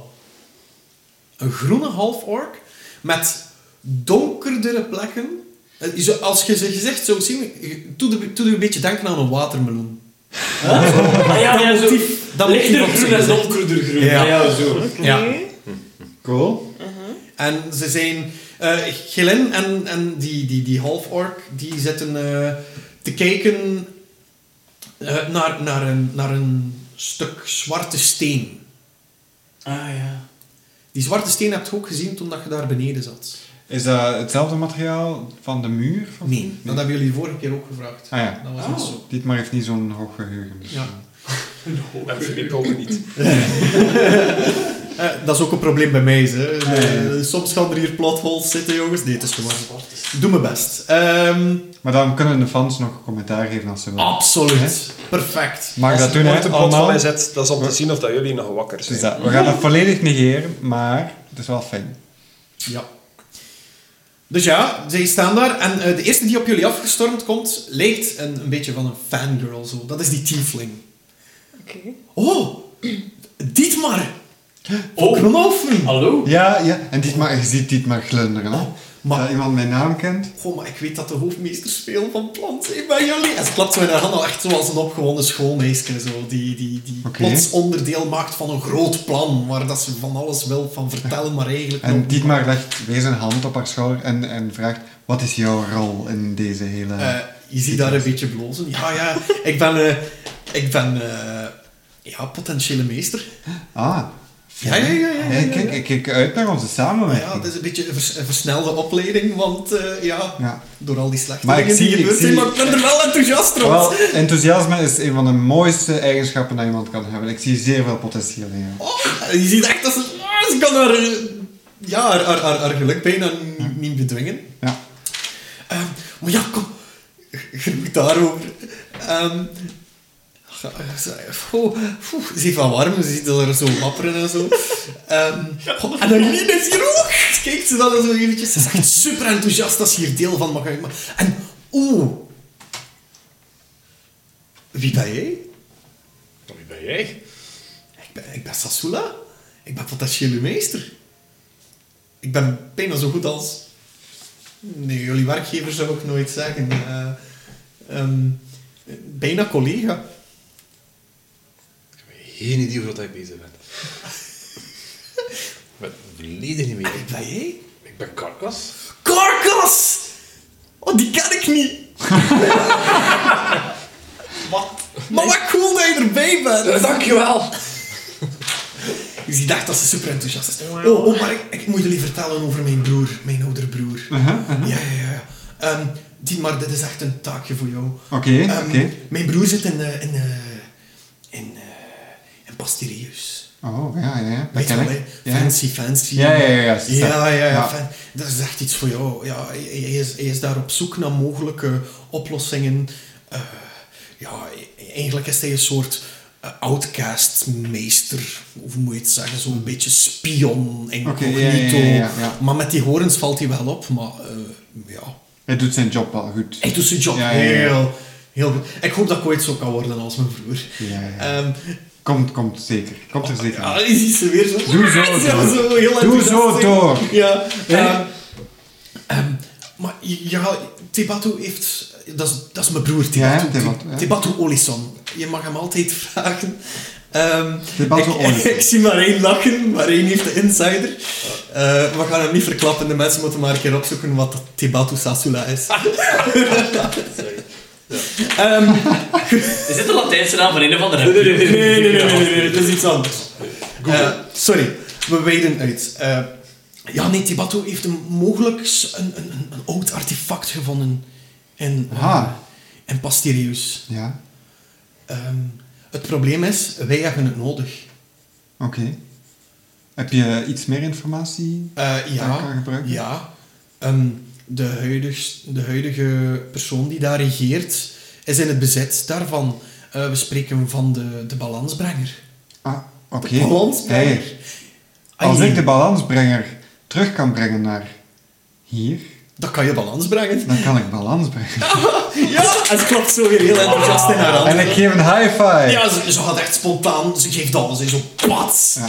S1: Een groene half-orc met donkerdere plekken. Eh, zo- Als je zijn gezicht zou zien, je- doe er- doe er een beetje denken aan een watermeloen.
S2: Ah ja, ja, zo.
S1: dat
S2: Lichter
S1: motief op
S2: groen
S1: zijn
S2: en
S1: gezicht.
S2: donkerder groen.
S1: Ja.
S2: Ja, ja zo.
S4: Oké.
S1: Ja.
S3: Cool.
S1: En ze zijn... eh Gillen en, en die, die, die half-orc, die zitten eh, te kijken eh, naar, naar, een, naar een stuk zwarte steen.
S2: Ah ja.
S1: Die zwarte steen heb je ook gezien toen dat je daar beneden zat.
S3: Is dat hetzelfde materiaal van de muur? Of-
S1: Nee, dat hebben jullie de vorige keer ook gevraagd.
S3: Ah ja.
S1: Dat was
S2: Oh.
S1: niet zo.
S3: Dietmar heeft niet zo'n hoog geheugen. dus-
S1: Ja.
S6: En Philippe ook niet.
S1: Eh, dat is ook een probleem bij mij. Hè.
S3: Ah,
S1: Eh, soms gaan er hier plotholes zitten, jongens. Nee, het is gewoon... Doe mijn best. Ehm,
S3: Maar dan kunnen de fans nog commentaar geven als ze willen.
S1: Ah, absoluut. Perfect.
S3: Mag dat doen,
S6: Wordt
S3: hè?
S6: een plot van
S3: Allemaal.
S6: mij zet, dat is om te zien of dat jullie nog wakker
S3: Dus
S6: zijn.
S3: dat. We gaan dat volledig negeren, maar het is wel fijn.
S1: Ja. Dus ja, zij staan daar. En eh, de eerste die op jullie afgestormd komt, lijkt een, een beetje van een fangirl zo. Dat is die tiefling.
S4: Oké.
S1: Oh! Dietmar!
S2: Oh.
S1: Oh! Knoffen!
S2: Hallo?
S3: Ja, ja. En Dietmar, je ziet Dietmar glunderen, hè?
S1: maar-
S3: Dat iemand mijn naam kent.
S1: Goh, maar ik weet dat de hoofdmeesters veel van plan zijn bij jullie. En ze klapt zo in haar handen echt zoals een opgewonden schoolmeisje. Zo, die die, die
S3: Oké.
S1: plots onderdeel maakt van een groot plan. Waar dat ze van alles wil van vertellen, maar eigenlijk...
S3: En
S1: nog-
S3: Dietmar legt weer zijn hand op haar schouder en, en vraagt... Wat is jouw rol in deze hele...
S1: Eh, je ziet daar een beetje blozen. Ja, ja. Ik ben... eh, ik ben... eh, ja, potentiële meester.
S3: Ah.
S1: Ja, ja, ja, ja, ja,
S3: Hey,
S1: ja,
S3: kijk,
S1: ja.
S3: ik kijk uit naar onze samenwerking.
S1: Ja, het is een beetje een, vers- een versnelde opleiding, want eh, ja,
S3: Ja.
S1: door al die slechte
S3: Maar ik
S1: dingen die
S3: zie- ik
S1: gebeurd zijn,
S3: zie-
S1: maar ik ben er wel enthousiast rond.
S3: Wel, enthousiasme is een van de mooiste eigenschappen dat iemand kan hebben. Ik zie zeer veel potentieel in jou.
S1: Oh, je ziet echt dat ze... ah, ze kan haar, eh, ja, haar, haar, haar, haar geluk bijna niet, niet bedwingen.
S3: Ja.
S1: Ehm, maar ja, kom. Genoeg daarover. Ehm, ga- ze- oh, oeh, ze heeft wel warm. Ze ziet dat er zo wapperen en zo. Ehm, goh, en Aline is hier ook. Kijkt ze dan zo eventjes. Ze is echt super enthousiast als ze hier deel van mag uitmaken. En oeh. Wie ben jij?
S5: Wie ben jij?
S1: Ik ben, ik ben Sassoula. Ik ben potentiële meester. Ik ben bijna zo goed als... Nee, jullie werkgever zou ik nooit zeggen. Eh, ehm, bijna collega.
S5: Geen idee hoe dat hij bezig bent. ik ben volledig niet meer.
S1: Ben jij?
S5: Ik ben karkas.
S1: Karkas! Oh, die ken ik niet. wat? Maar wat cool dat je erbij bent.
S5: Dankjewel!
S1: Dus die dacht dat ze super enthousiast is. Oh, oh maar ik, ik moet jullie vertellen over mijn broer, mijn oudere broer.
S3: Uh-huh,
S1: Ja, ja, ja. Ehm, die, maar dit is echt een taakje voor jou.
S3: Oké,
S1: Ehm,
S3: oké.
S1: Mijn broer zit in, eh, in, eh, in, eh, in Pastirius.
S3: Oh, ja, ja, ja. Dat
S1: Weet je wel,
S3: ken
S1: hè?
S3: ik. Ja.
S1: fancy, fancy.
S3: Ja, ja, ja, ja,
S1: ja.
S3: ze staat-
S1: ja, ja,
S3: ja.
S1: fan- dat is echt iets voor jou. Ja, hij, hij is, hij is daar op zoek naar mogelijke oplossingen. Eh, ja, eigenlijk is hij een soort eh, outcast-meester. Of hoe moet je het zeggen? Zo'n beetje spion,
S3: Hmm. Oké,
S1: incognito.
S3: ja, ja, ja, ja, ja.
S1: Maar met die horens valt hij wel op. Maar eh, ja,
S3: Hij doet zijn job wel goed.
S1: hij doet zijn job
S3: Ja, ja, ja.
S1: heel... Heel goed. Ik hoop dat ik ooit zo kan worden als mijn broer.
S3: Ja, ja.
S1: Ehm,
S3: Komt, komt zeker. Komt er zeker
S1: ja,
S3: aan.
S1: je ziet ze Ah, weer zo.
S3: Doe zo
S1: Ja,
S3: door.
S1: zo heel
S3: Doe
S1: enthousiast
S3: zo
S1: zijn.
S3: door.
S1: Ja.
S3: Ja.
S1: ehm, ehm, maar ja, Tibatu heeft... Dat is, dat is mijn broer, Tibatu.
S3: Ja, Tibatu, ja.
S1: Tibatu Olison. Je mag hem altijd vragen. Ehm,
S3: Tibatu
S1: ik-
S3: Olison.
S1: Ik zie maar één lachen, maar één heeft de insider. Eh, we gaan hem niet verklappen. De mensen moeten maar een keer opzoeken wat Tibatu Sasula is. Ehm,
S2: Is dit de Latijnse naam van een of andere?
S1: Nee, nee, nee, nee, nee, nee, nee, dat is iets anders. Eh, sorry, we wijden uit. Eh, ja, nee, Tibato heeft een, mogelijk een, een, een, een oud artefact gevonden in, eh,
S3: Ah.
S1: in Pastirius.
S3: Ja,
S1: Ehm, het probleem is, wij hebben het nodig.
S3: oké. Heb je iets meer informatie?
S1: Eh, ja,
S3: Dat kan gebruiken?
S1: ja. Ehm, de, huidigs- de huidige persoon die daar regeert, is in het bezit daarvan. Eh, we spreken van de, de balansbrenger.
S3: Ah, oké.
S1: De balansbrenger.
S3: Hey, als ik de balansbrenger terug kan brengen naar hier,
S1: Dat kan je balans brengen.
S3: dan kan ik balans brengen.
S1: Ja, en ze klapt zo weer heel enthousiast in haar
S3: En
S1: handen.
S3: ik geef een high five.
S1: Ja, ze, ze gaat echt spontaan. Ze geeft alles in zo plats.
S3: Ja.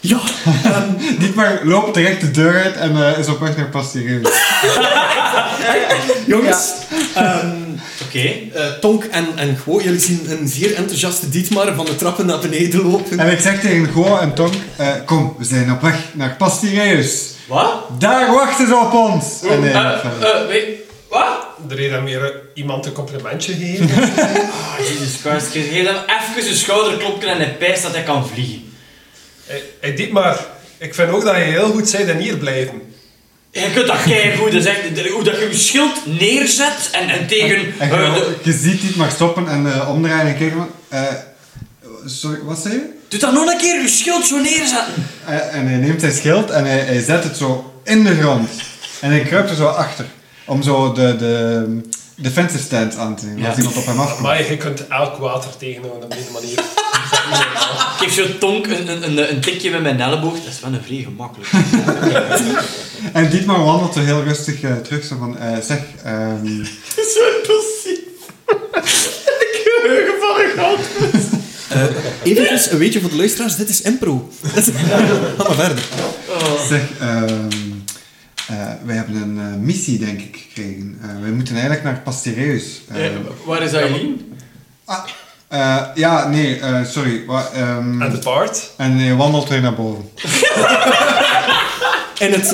S1: Ja, ehm,
S3: Dietmar loopt direct de deur uit en eh, is op weg naar Pastirius.
S1: jongens. ehm,
S2: Oké.
S1: eh, Tonk en, en Gwo, jullie zien een zeer enthousiaste Dietmar van de trappen naar beneden lopen.
S3: En ik zeg tegen Goa en Tonk, eh, kom, we zijn op weg naar Pastirius.
S2: Wat?
S3: Daar wachten ze op ons. En, eh,
S2: Eh,
S3: verder.
S2: eh, weet- Wat?
S6: Er heeft hem weer eh, iemand een complimentje gegeven.
S2: Ah, Jesus Christ. Geef geef hem even een schouderklopje en hij pijst dat hij kan vliegen.
S6: hey, hey, Dietmar, ik vind ook dat je heel goed bent en hier blijven.
S2: Je kunt dat keigoed. Dat is echt- de- Hoe dat je je schild neerzet en, en tegen...
S3: En
S2: eh,
S3: je,
S2: de-
S3: je ziet Dietmar stoppen en eh, omdraaien en kijken van... eh, sorry, wat zei je?
S2: Doe dat nog een keer, je schild zo neerzetten.
S3: Eh, En hij neemt zijn schild en hij, hij zet het zo in de grond. En hij kruipt er zo achter. Om zo de, de defensive stance aan te nemen. Als iemand op hem afkomt.
S6: Maar je kunt elk water tegenhouden op deze manier.
S2: Ik geef zo tonk een, een, een, een tikje met mijn elleboog. Dat is wel een vrij gemakkelijk.
S3: En Dietmar wandelt zo heel rustig eh, terug. Zo van, eh, zeg... ehm,
S1: Eventjes, een beetje voor de luisteraars, dit is impro. Dat is- Ga maar verder.
S3: Zeg, ehm, eh, wij hebben een eh, missie, denk ik, gekregen. Eh, wij moeten eigenlijk naar Pastireus. Eh,
S2: waar is Aileen?
S3: ah, eh, ja, nee, eh, sorry. Wa- ehm,
S6: En het paard?
S3: en hij wandelt weer naar boven.
S1: En het...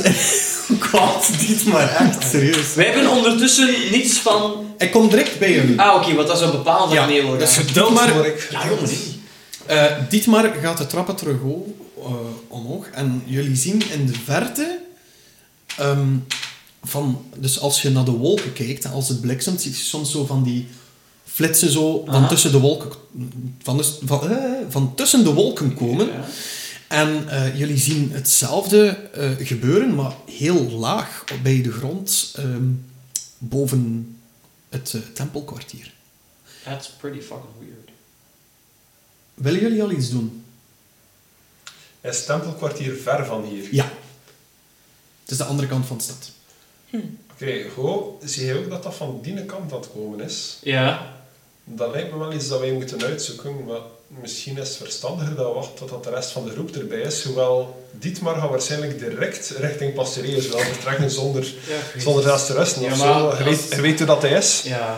S1: Oh God, Dietmar, echt, serieus.
S2: Wij hebben ondertussen niets van...
S1: Ik kom direct bij jullie. Dus
S2: Ah, oké, wat dat zou bepalen van Nederland.
S1: dat is Dietmar,
S2: Ja, jongens. hé.
S1: eh, Dietmar gaat de trappen terug o- eh, omhoog. En jullie zien in de verte... ehm, van, dus als je naar de wolken kijkt, en als het bliksemt, zie je soms zo van die flitsen zo van tussen de wolken... Van, dus- van, eh, van tussen de wolken komen. En eh, jullie zien hetzelfde eh, gebeuren, maar heel laag op- bij de grond, ehm, boven het eh, tempelkwartier.
S2: That's pretty fucking weird.
S1: Willen jullie al iets doen?
S6: Is het tempelkwartier ver van hier?
S1: Ja. Het is de andere kant van de stad.
S6: Oké, Go, zie je ook dat dat van die kant aan het komen is?
S2: Ja.
S6: Dat lijkt me wel iets dat wij moeten uitzoeken, maar misschien is het verstandiger dat we wachten totdat de rest van de groep erbij is. Hoewel Dietmar gaat waarschijnlijk direct richting Pastereus wel vertrekken zonder,
S2: Ja, ik weet
S6: zonder zelfs te rusten
S2: Ja,
S6: of
S2: maar
S6: zo. Je weet,
S2: als-
S6: je weet hoe dat hij is.
S2: Ja, ja.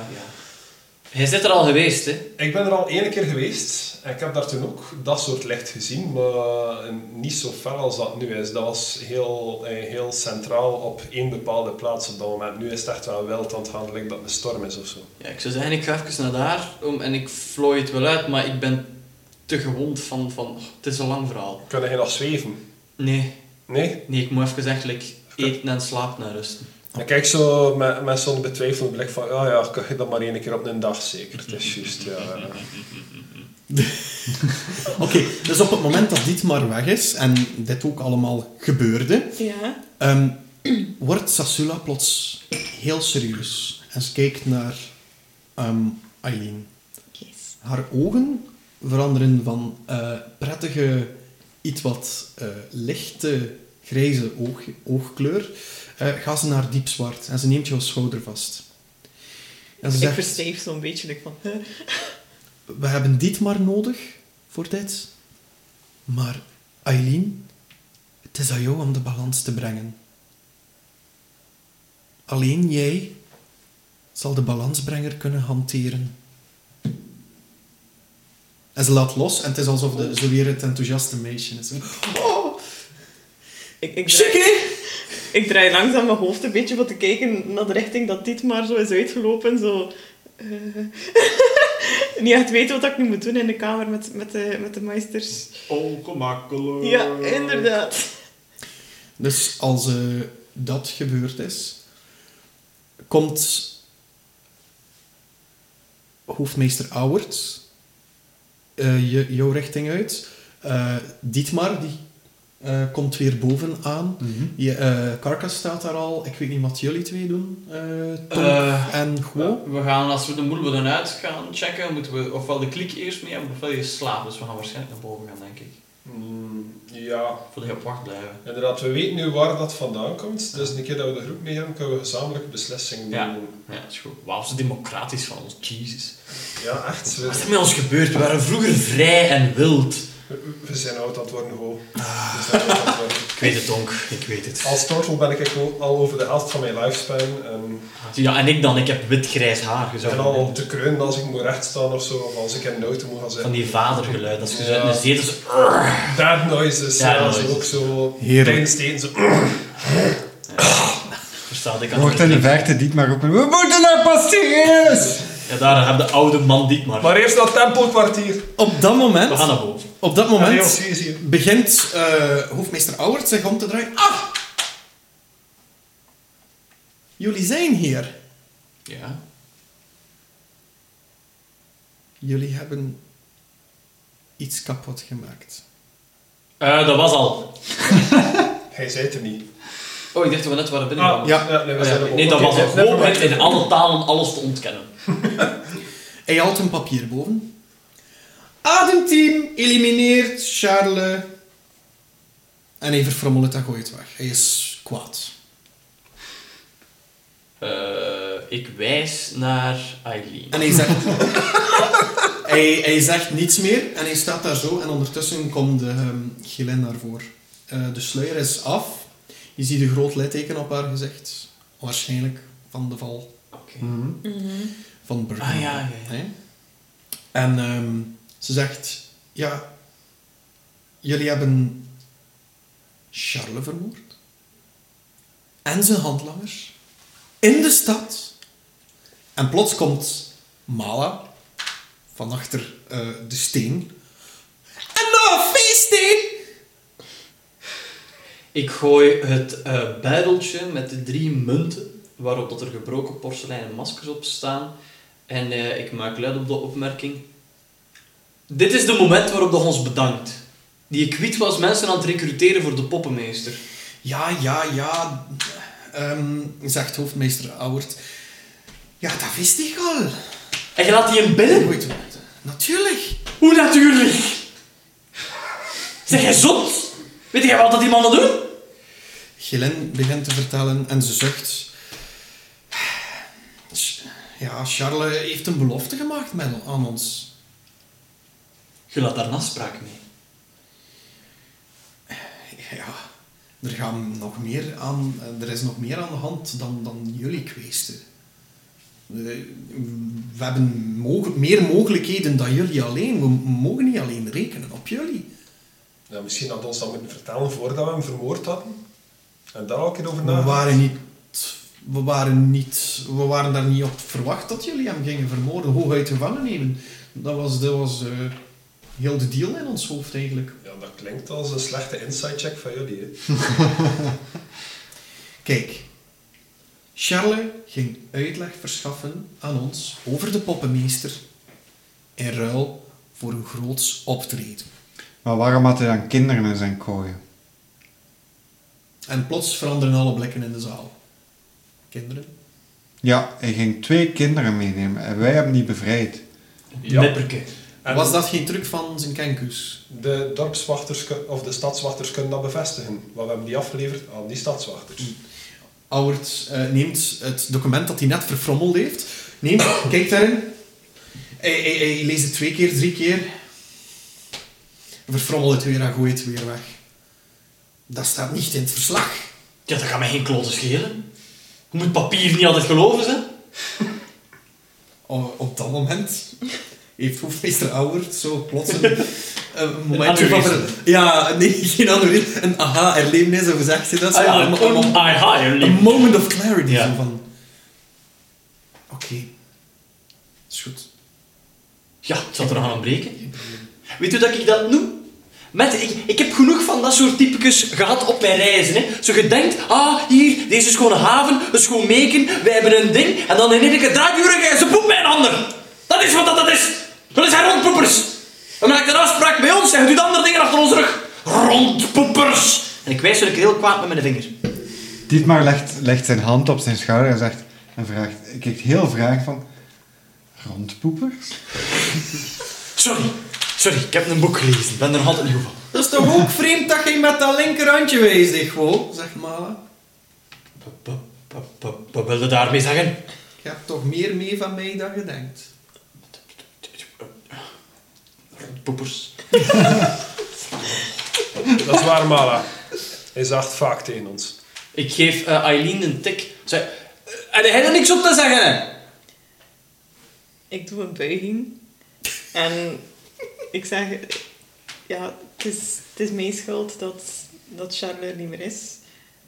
S2: Hij zit er al geweest, hè?
S6: Ik ben er al één keer geweest en ik heb daar toen ook dat soort licht gezien, maar eh, niet zo fel als dat nu is. Dat was heel, eh, heel centraal op één bepaalde plaats op dat moment. Nu is het echt wel wild aan het gaan, gelijk dat het een storm is of zo.
S2: Ja, ik zou zeggen, ik ga even naar daar om, en ik flooi het wel uit, maar ik ben te gewond van... van oh, het is een lang verhaal.
S6: Kunnen je nog zweven?
S2: Nee,
S6: Nee?
S2: nee, ik moet even eigenlijk eten en slapen en rusten.
S6: Dan kijk zo met, met zo'n betwijfelende blik van, "Ah ja ja, kan je dat maar één keer op een dag zeker. Het is juist, ja. ja.
S1: Oké, dus op het moment dat dit maar weg is en dit ook allemaal gebeurde,
S4: Ja.
S1: ehm, wordt Sasula plots heel serieus. En ze kijkt naar ehm, Aileen.
S4: Yes.
S1: Haar ogen veranderen van eh, prettige, iets wat eh, lichte, grijze oog, oogkleur. eh gaat ze naar diep zwart en ze neemt jouw schouder vast. En ze
S4: Ik
S1: zegt,
S4: versteef zo'n beetje. like van, huh?
S1: we hebben dit maar nodig voor dit. Maar Aileen, het is aan jou om de balans te brengen. Alleen jij zal de balansbrenger kunnen hanteren. En ze laat los en het is alsof de, ze weer het enthousiaste meisje is.
S4: Ik, ik, draai,
S1: Chicky!
S4: ik draai langzaam mijn hoofd een beetje om te kijken naar de richting dat dit maar zo is uitgelopen. Zo. eh, niet echt weten wat ik nu moet doen in de kamer met, met, de, met de meisters.
S8: Ongemakkelijk.
S4: Ja, inderdaad.
S1: Dus als eh, dat gebeurd is, komt hoofdmeester Auwert eh, je, jouw richting uit. Eh, Dietmar, die eh, komt weer bovenaan. Je, eh Karkas staat daar al. Ik weet niet wat jullie twee doen. eh, Tom
S2: Eh,
S1: en Guo.
S2: We gaan, als we de moeder dan uit gaan checken, moeten we ofwel de klik eerst mee hebben, ofwel je slaap. Dus we gaan waarschijnlijk naar boven gaan, denk ik.
S6: Mm, ja,
S2: Voor je op wacht blijven.
S6: inderdaad. We weten nu waar dat vandaan komt. Dus een keer dat we de groep mee hebben, kunnen we gezamenlijke beslissingen
S2: Ja.
S6: nemen.
S2: Ja, dat is goed. Wauw, zo democratisch van ons. Jezus.
S6: Ja, echt.
S2: Wat is
S6: We,
S2: er met ons gebeurd? We waren vroeger vrij en wild.
S6: we zijn oud aan het worden, ho. We zijn oud aan het worden.
S2: Ik weet het, Donk. Ik weet het.
S6: Als tortel ben ik ook al over de helft van mijn lifespan. En,
S2: Ja, en ik dan. Ik heb wit-grijs haar. Je zou
S6: en al te kreunen als ik moet rechtstaan of zo, of als ik in een auto moet gaan
S2: Van
S6: zitten.
S2: die vadergeluid. Dat is dus
S6: Ja.
S2: uit een zetel zo...
S6: Dead noises,
S2: Dead
S6: ja, dat is
S2: noises.
S6: ook zo.
S1: Heerlijk.
S6: Tijdens het eten zo.
S2: Verstaat ik
S3: Je hoort in de verte dit maar roepen. We moeten naar Pastiris!
S2: Ja, daar heb de oude man dit maar.
S6: Maar eerst dat tempelkwartier.
S1: Op dat moment,
S2: We gaan naar boven.
S1: op dat
S6: Allee,
S1: moment
S6: joh, zie je, zie je.
S1: begint eh, hoofdmeester Auwert zich om te draaien. Ah! Jullie zijn hier.
S2: Ja.
S1: Jullie hebben iets kapot gemaakt.
S2: Eh, dat was al.
S6: Hij zei het er niet.
S2: Oh, ik dacht dat we net waren binnen.
S6: Ah, nee, we
S2: Oh, Ja,
S6: zijn er
S2: nee,
S6: ook.
S2: dat
S6: Oké,
S2: was een
S6: never mind.
S2: hoop in alle talen alles te ontkennen.
S1: Hij haalt een papier boven. Ademteam elimineert Charles. En hij verfrommelt het en gooit het weg. Hij is kwaad.
S2: Eh, ik wijs naar Eileen.
S1: En hij zegt... hij, hij zegt niets meer en hij staat daar zo. En ondertussen komt de ehm, Gillen naar voren. Eh, de sluier is af. Je ziet een groot litteken op haar gezicht. Waarschijnlijk van de val.
S2: Oké.
S1: van Burger.
S2: Ah, ja, ja, ja.
S1: Hè? En ehm, ze zegt, ja, jullie hebben Charles vermoord. En zijn handlangers. In de stad. En plots komt Mala van achter eh, de steen. En nog een feestding!
S2: Ik gooi het eh buideltje met de drie munten, waarop dat er gebroken porseleinen maskers op staan. En eh, ik maak luid op de opmerking. Dit is de moment waarop dat ons bedankt. Die ik wiet was mensen aan het recruteren voor de poppenmeester.
S1: Ja, ja, ja, ehm, zegt hoofdmeester Auwert. Ja, dat wist ik al.
S2: En je laat die in binnen?
S1: Nooit worden. Natuurlijk.
S2: Hoe natuurlijk? Zeg jij zot? Weet jij wat dat die mannen doen?
S1: Gillen begint te vertellen en ze zucht. Ja, Charles heeft een belofte gemaakt met, aan ons.
S2: Je laat daar een afspraak mee.
S1: Ja, er, gaan nog meer aan, er is nog meer aan de hand dan, dan jullie kweesten. eh, we hebben moge- meer mogelijkheden dan jullie alleen. We mogen niet alleen rekenen op jullie.
S6: Ja, Nou, misschien had ons dat moeten vertellen voordat we hem vermoord hadden. En daar ook een keer over
S1: We
S6: na.
S1: waren niet... We waren, niet, we waren daar niet op verwacht dat jullie hem gingen vermoorden, hooguit gevangen nemen. Dat was, dat was eh, heel de deal in ons hoofd eigenlijk.
S6: Ja, dat klinkt als een slechte inside check van jullie. Hè.
S1: Kijk, Charles ging uitleg verschaffen aan ons over de poppenmeester in ruil voor een groots optreden.
S3: Maar waarom had hij dan kinderen in zijn kooien?
S1: En plots veranderen alle blikken in de zaal. Kinderen?
S3: Ja, hij ging twee kinderen meenemen en wij hebben die bevrijd.
S6: Ja.
S8: Nipperke.
S6: En
S1: Was dat geen truc van zijn kenkus?
S6: De dorpswachters kun- of de stadswachters kunnen dat bevestigen. Want we hebben die afgeleverd aan die stadswachters.
S1: Auwert eh, neemt het document dat hij net verfrommeld heeft, neemt, kijkt daarin. Hij, hij, hij leest het twee keer, drie keer. Verfrommelt het weer en gooit het weer weg. Dat staat niet in het verslag.
S8: Ja, dat gaat mij geen klote schelen. Je moet papier niet altijd geloven,
S2: Ah
S8: hè?
S1: O- Oh, op dat moment heeft hoefmeester Auwert zo plots een, een moment
S8: Een
S1: van... Ja, nee, geen aneurysme. Een aha-erlevenis, of hoe zeg je dat? Zo,
S8: Ah ja,
S1: een-
S8: een
S1: een-
S8: kon- ah, ja, een
S1: Een
S8: link.
S1: moment of clarity.
S8: Ja.
S1: Zo van... Oké. Is goed.
S8: Ja, het zat er aan ontbreken. Weet u dat ik dat noem? Met, ik, ik heb genoeg van dat soort typekes gehad op mijn reizen. Hè. Zo je denkt, ah, hier, deze schone haven, een schoon meken, wij hebben een ding. En dan in één draaiburen en ze poept mijn ander. Dat is wat dat, dat is. Dat zijn rondpoepers. En maakt een afspraak bij ons en je doet andere dingen achter ons rug. Rondpoepers. En ik wijs er heel kwaad met mijn vinger.
S3: Dietmar legt, legt zijn hand op zijn schouder en zegt en vraagt, kijkt heel vraag van, rondpoepers?
S8: Sorry, sorry, ik heb een boek gelezen. Ik ben er nog altijd nieuw van.
S1: Dat is toch ook vreemd dat je met dat linkerhandje wijst, gewoon, zeg maar.
S8: Pa- pa- pa- pa- Wat wilde daarmee zeggen?
S1: Je hebt toch meer mee van mij dan je denkt.
S8: Poepers.
S6: Dat is waar, Mala. Hij zaagt vaak tegen ons.
S2: Ik geef eh, Eileen een tik. Zij...
S8: Eh,
S2: En hij
S8: er niks op te zeggen.
S4: Ik doe een buiging. En ik zeg... Ja, het is, het is mijn schuld dat, dat Charles er niet meer is.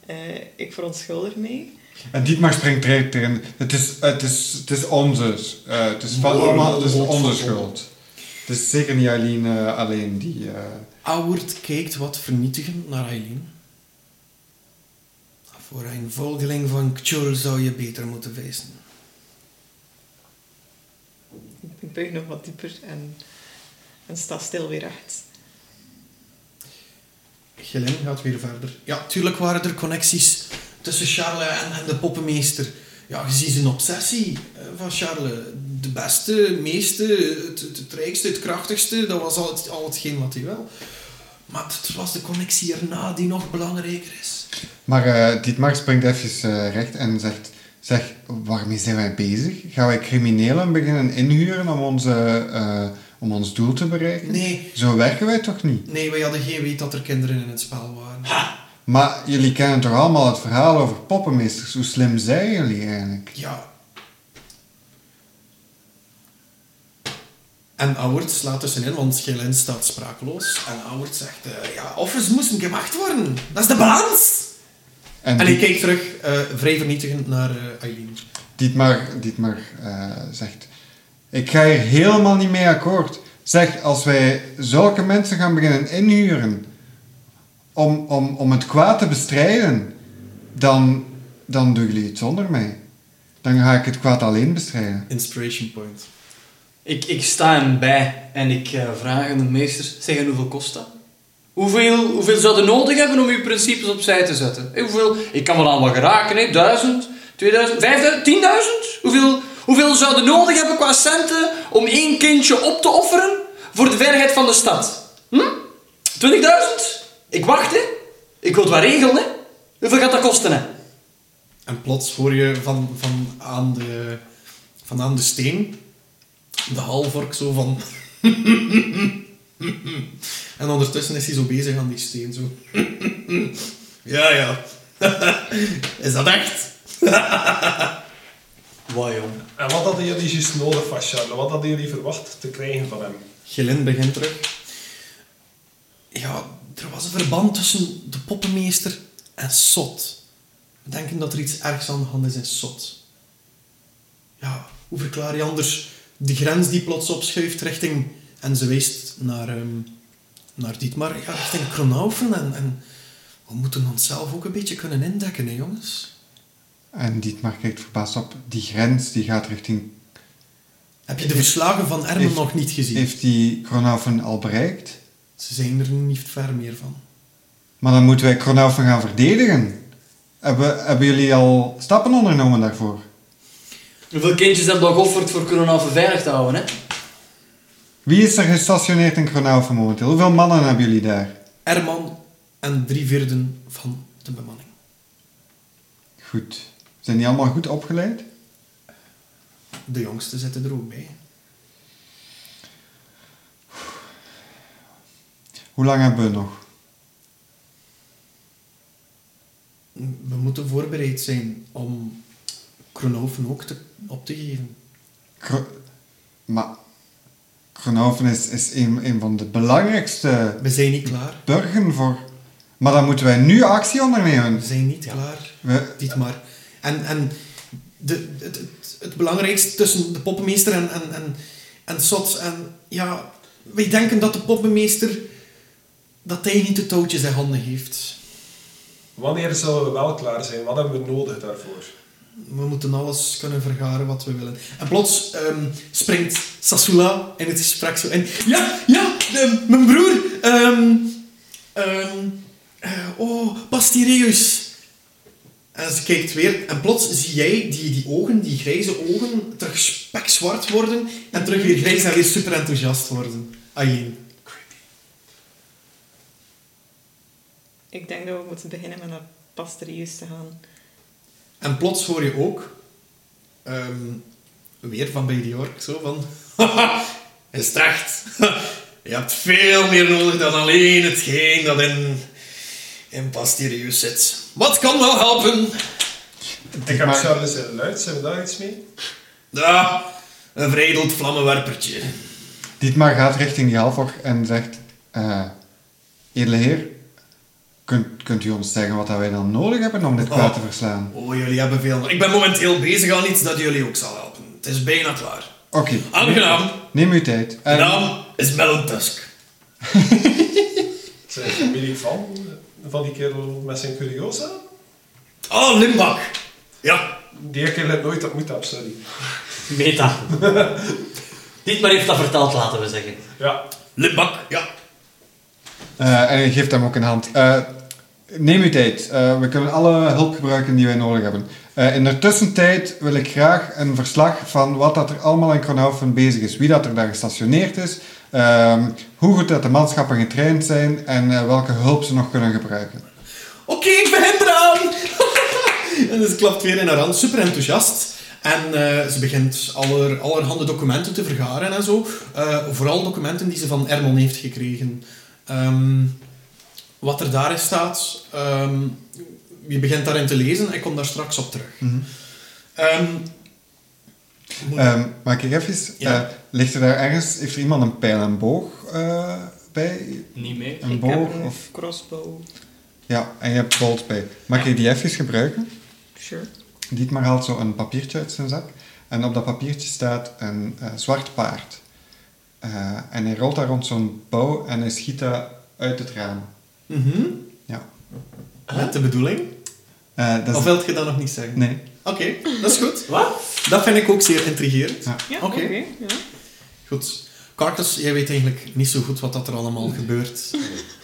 S4: Eh, ik verontschuldig mij.
S3: En Dietmar springt direct erin. Het is, het is, het is onze, eh, het is van allemaal, het is onze schuld. Het is zeker niet alleen, eh, alleen die... eh,
S1: Auwert kijkt wat vernietigend naar Eileen. Voor een volgeling van Kjol zou je beter moeten wezen.
S4: Ik buig nog wat dieper en, en sta stil weer recht.
S1: Gelin gaat weer verder. Ja, tuurlijk waren er connecties tussen Charles en, en de poppenmeester. Ja, je ziet zijn obsessie eh, van Charles. De beste, meeste, het, het, het rijkste, het krachtigste. Dat was al, het, al hetgeen wat hij wil. Maar het was de connectie erna die nog belangrijker is.
S3: Maar eh, Dietmar springt even eh, recht en zegt... Zeg, waarmee zijn wij bezig? Gaan wij criminelen beginnen inhuren om, onze, eh, om ons doel te bereiken?
S1: Nee.
S3: Zo werken wij toch niet?
S1: Nee, wij hadden geen weet dat er kinderen in het spel waren.
S3: Maar jullie kennen toch allemaal het verhaal over poppenmeesters? Hoe slim zijn jullie eigenlijk?
S1: Ja. En Auwert slaat tussenin, want Gelin staat sprakeloos. En Auwert zegt, eh, ja, offers moesten gemaakt worden. Dat is de balans.
S3: En,
S1: En ik
S3: Diet-
S1: kijk terug, eh, vrij vernietigend, naar eh, Eileen.
S3: Dietmar, Dietmar eh, zegt... Ik ga hier helemaal niet mee akkoord. Zeg, als wij zulke mensen gaan beginnen inhuren... om, om, om het kwaad te bestrijden... dan, dan doen jullie het zonder mij. Dan ga ik het kwaad alleen bestrijden.
S1: Inspiration point.
S2: Ik, ik sta hem bij en ik eh, vraag aan de meesters, zeggen hoeveel kost dat? Hoeveel, hoeveel zou je nodig hebben om uw principes opzij te zetten? Eh, hoeveel, ik kan wel aan wat geraken, hè? 1000, 2000, 5000, 10.000? Hoeveel, hoeveel zou je nodig hebben qua centen om één kindje op te offeren voor de veiligheid van de stad? Hm? 20.000? Ik wacht, hè? Ik wil het wel regelen, hè? Hoeveel gaat dat kosten, hè?
S1: En plots hoor je van, van, aan, de, van aan de steen de halvork zo van... en ondertussen is hij zo bezig aan die steen, zo... ja, ja. is dat echt?
S2: Wauw, jong.
S6: En wat hadden jullie juist nodig van Charles? Wat hadden jullie verwacht te krijgen van hem?
S1: Gelin begint terug. Ja, er was een verband tussen de poppenmeester en Sot. We denken dat er iets ergs aan de hand is in Sot. Ja, hoe verklaar je anders de grens die plots opschuift richting... En ze wijst naar, ehm naar Dietmar, ja, richting Kronaufen. En, en we moeten onszelf ook een beetje kunnen indekken, hè, jongens.
S3: En Dietmar kijkt verbaasd op. Die grens die gaat richting...
S1: Heb je de verslagen van Ermen
S3: Heeft-
S1: nog niet gezien?
S3: Heeft die Kronaufen al bereikt?
S1: Ze zijn er niet ver meer van.
S3: Maar dan moeten wij Kronaufen gaan verdedigen. Hebben, hebben jullie al stappen ondernomen daarvoor?
S2: Hoeveel kindjes hebben we al geofferd voor Kronaufen veilig te houden, hè?
S3: Wie is er gestationeerd in Kronaufen momenteel? Hoeveel mannen hebben jullie daar?
S1: Erman en drie vierden van de bemanning.
S3: Goed. Zijn die allemaal goed opgeleid?
S1: De jongste zitten er ook bij.
S3: Hoe lang hebben we nog?
S1: We moeten voorbereid zijn om Kronoven ook te, op te geven.
S3: Kro- maar Kronhoven is, is een, een van de belangrijkste
S1: We zijn niet klaar.
S3: burgen voor. Maar dan moeten wij nu actie ondernemen.
S1: We zijn niet klaar,
S3: We-
S1: Dietmar. En, en de, het, het, het belangrijkste tussen de poppenmeester en, en, en, en Sots en... Ja, wij denken dat de poppenmeester... Dat hij niet de touwtjes in handen heeft.
S6: Wanneer zullen we wel klaar zijn? Wat hebben we nodig daarvoor?
S1: We moeten alles kunnen vergaren wat we willen. En plots ehm, springt Sasula in het gesprek zo in. Ja, ja, ehm, mijn broer. ehm, ehm, eh, oh, Pastireus. En ze kijkt weer. En plots zie jij die, die ogen, die grijze ogen, terug spekzwart worden. En terug weer grijs en weer super enthousiast worden. Aileen.
S4: Ik denk dat we moeten beginnen met naar Pastereus te gaan.
S1: En plots hoor je ook... ehm, weer van bij die ork, zo van... is terecht. je hebt veel meer nodig dan alleen hetgeen dat in... in Pastirius zit. Wat kan wel helpen?
S6: Ik heb
S3: maar-
S6: Charles in luid, zijn we daar iets mee?
S1: Ja, een vrijdeld vlammenwerpertje.
S3: Dietmar gaat richting die halvorg en zegt... eh edele heer, kunt, kunt u ons zeggen wat dat wij dan nodig hebben om dit
S1: Oh.
S3: kwaad te verslaan?
S1: Oh, jullie hebben veel... Ik ben momenteel bezig aan iets dat jullie ook zal helpen. Het is bijna klaar.
S3: Oké,
S1: Aangenaam.
S3: neem uw tijd. Eh,
S1: Mijn
S3: En
S1: naam is Melon Tusk.
S6: Zijn familie van, van die kerel met zijn curiosa?
S1: Oh, Limbak. Ja.
S6: Die kerel heb ik nooit ontmoet, heb, sorry.
S8: Meta. Dit maar heeft dat verteld, laten we zeggen.
S6: Ja,
S1: Limbak, ja.
S3: Eh, en hij geeft hem ook een hand. Eh, neem uw tijd. Eh, we kunnen alle hulp gebruiken die wij nodig hebben. Eh, in de tussentijd wil ik graag een verslag van wat dat er allemaal in Kronhoven bezig is. Wie dat er daar gestationeerd is. ehm, hoe goed dat de manschappen getraind zijn. En eh, welke hulp ze nog kunnen gebruiken.
S1: Oké, ik begin eraan! en ze klapt weer in haar hand, super enthousiast. En eh, ze begint aller, allerhande documenten te vergaren en zo. Eh, vooral documenten die ze van Ermon heeft gekregen. Ehm, wat er daarin staat, ehm, je begint daarin te lezen. Ik kom daar straks op terug.
S3: Mhm.
S1: Ehm, moet-
S3: Ehm maak ik even.
S1: Ja.
S3: eh, ligt er daar ergens... Heeft er iemand een pijl en boog eh, bij?
S2: Niet mee.
S3: Een
S4: ik
S3: boog?
S4: heb een
S3: Of...
S4: crossbow.
S3: Ja, en je hebt bolt bij. Mag ik die even gebruiken?
S4: Sure.
S3: Dietmar haalt zo een papiertje uit zijn zak. En op dat papiertje staat een eh, zwart paard. Eh, en hij rolt daar rond zo'n bouw en hij schiet dat uit het raam.
S1: mhm.
S3: Ja.
S1: Met de bedoeling?
S3: Eh, dat
S1: Of
S3: is...
S1: wilt je dat nog niet zeggen?
S3: Nee.
S1: Oké, dat is goed.
S8: Wat?
S1: Dat vind ik ook zeer intrigerend.
S4: Ja,
S1: Oké.
S4: oké. ja.
S1: Goed. Cartus, jij weet eigenlijk niet zo goed wat dat er allemaal gebeurt.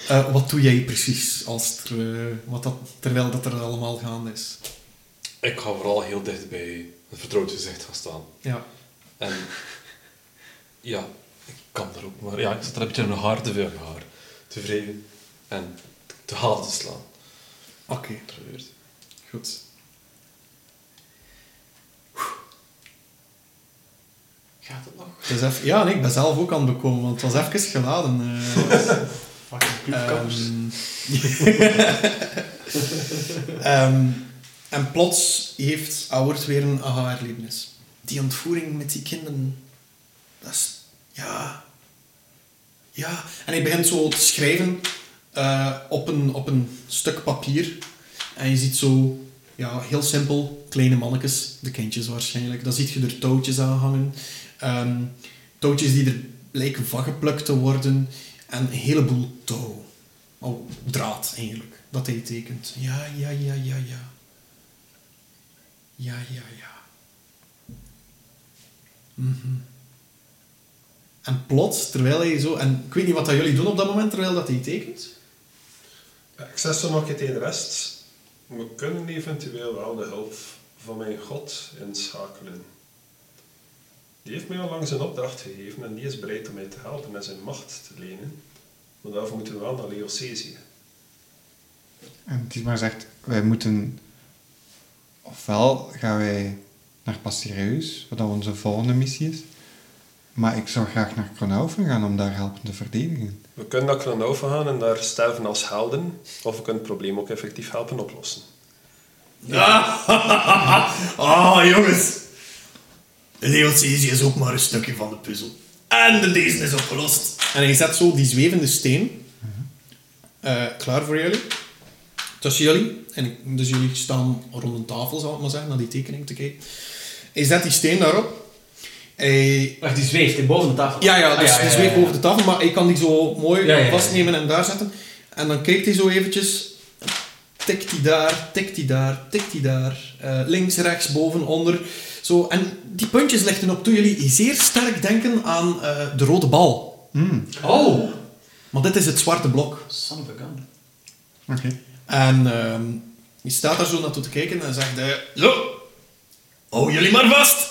S1: Eh, wat doe jij precies als er, eh, wat dat, terwijl dat er allemaal gaande is?
S5: Ik ga vooral heel dicht bij een vertrouwd gezicht gaan staan.
S1: Ja.
S5: En ja, ik kan er ook maar. Ja, ik zat er een beetje in mijn haar te veel haar te wrijven en te halen te slaan.
S1: Oké,
S5: Wat er gebeurt.
S1: goed.
S2: Gaat het nog?
S1: Het is even- ja, nee, ik ben zelf ook aan het bekomen, want het was even geladen. eh.
S2: Fucking
S1: Ehm,
S2: kloepkappers.
S1: Ehm, en plots heeft Auwert weer een aha-erlevenis. die ontvoering met die kinderen, dat is... Ja... Ja. En hij begint zo te schrijven eh, op, een, op een stuk papier. En je ziet zo, ja, heel simpel, kleine mannetjes, de kindjes waarschijnlijk. Dan ziet je er touwtjes aan hangen. Ehm, touwtjes die er lijken vastgeplukt te worden. En een heleboel touw. Oh, draad eigenlijk. Dat hij tekent. Ja, ja, ja, ja, ja. Ja, ja, ja. Mhm. En plots, terwijl hij zo... En ik weet niet wat dat jullie doen op dat moment, terwijl dat hij tekent.
S6: Ja, Ik zeg zo nog een keer tegen de rest. We kunnen eventueel wel de hulp van mijn god inschakelen. Die heeft mij al langs een opdracht gegeven en die is bereid om mij te helpen en zijn macht te lenen. Maar daarvoor moeten we wel naar Leocesië.
S3: En Dietmar zegt, wij moeten... Ofwel gaan wij naar Pastireus, wat dan onze volgende missie is. Maar ik zou graag naar Kronaufen gaan om daar helpen te verdedigen.
S6: We kunnen naar Kronova gaan en daar sterven als helden, of we kunnen het probleem ook effectief helpen oplossen.
S1: Ah, jongens. Leocesië is ook maar een stukje van de puzzel. En de lezen is opgelost. En hij zet zo die zwevende steen eh, klaar voor jullie. Tussen jullie. En ik- dus jullie staan rond een tafel, zal ik maar zeggen, naar die tekening te kijken. Hij zet die steen daarop. Hij
S8: Wacht, die zweeft in boven de tafel.
S1: Ja, ja,
S8: Ah,
S1: dus, dus week boven de tafel, maar ik kan die zo mooi
S8: Ja, ja, ja.
S1: vastnemen en daar zetten. En dan kijkt hij zo eventjes, tikt hij daar, tikt hij daar, tikt hij daar, eh, links, rechts, boven, onder. Zo, en die puntjes legden op toe jullie zeer sterk denken aan eh, de rode bal.
S8: Oh!
S1: Maar dit is het zwarte blok.
S8: Son of a gun.
S3: Oké.
S1: En ehm, je staat daar zo naartoe te kijken en zegt hij... Zo, hou jullie maar vast!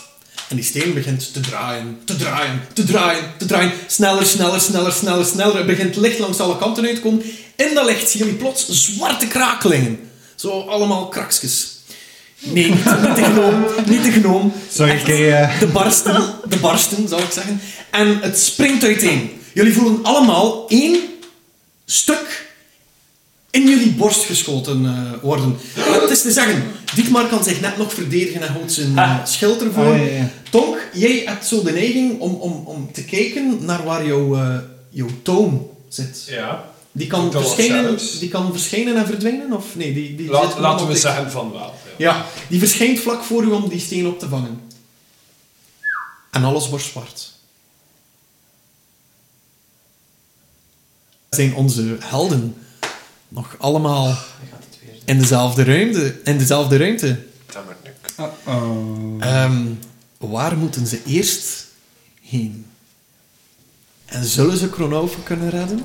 S1: En die steen begint te draaien, te draaien, te draaien, te draaien. Sneller, sneller, sneller, sneller, sneller. Het begint licht langs alle kanten uit te komen. In dat licht zien jullie plots zwarte krakelingen. Zo allemaal kraksjes. Nee, niet, niet de gnoom, niet de gnoom.
S3: Sorry,
S1: Echt,
S3: Kay, eh.
S1: De barsten, de barsten, zou ik zeggen. En het springt uiteen. Jullie voelen allemaal één stuk in jullie borst geschoten eh, worden. Dat is te zeggen, Dietmar kan zich net nog verdedigen en houdt zijn eh, schild ervoor.
S3: Ah, ja, ja.
S1: Tonk, jij hebt zo de neiging om, om, om te kijken naar waar jouw, eh, jouw toon zit.
S6: Ja,
S1: Die kan,
S6: Toon
S1: verschijnen,
S6: zelfs.
S1: die kan verschijnen en verdwijnen? Of nee, die, die zit
S6: Laat,
S1: gewoon
S6: laten
S1: op
S6: we
S1: de-
S6: zeggen van wel. ja.
S1: Ja, die verschijnt vlak voor u om die steen op te vangen. En alles wordt zwart. Zijn onze helden nog allemaal in dezelfde ruimte? In dezelfde ruimte?
S6: Tammernuk.
S3: Uh-oh.
S1: Ehm, waar moeten ze eerst heen? En zullen ze Kronaufen kunnen redden?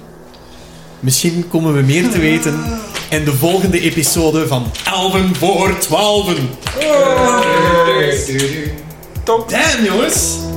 S1: Misschien komen we meer te weten in de volgende episode van Elven voor Twaalfen. Damn, jongens!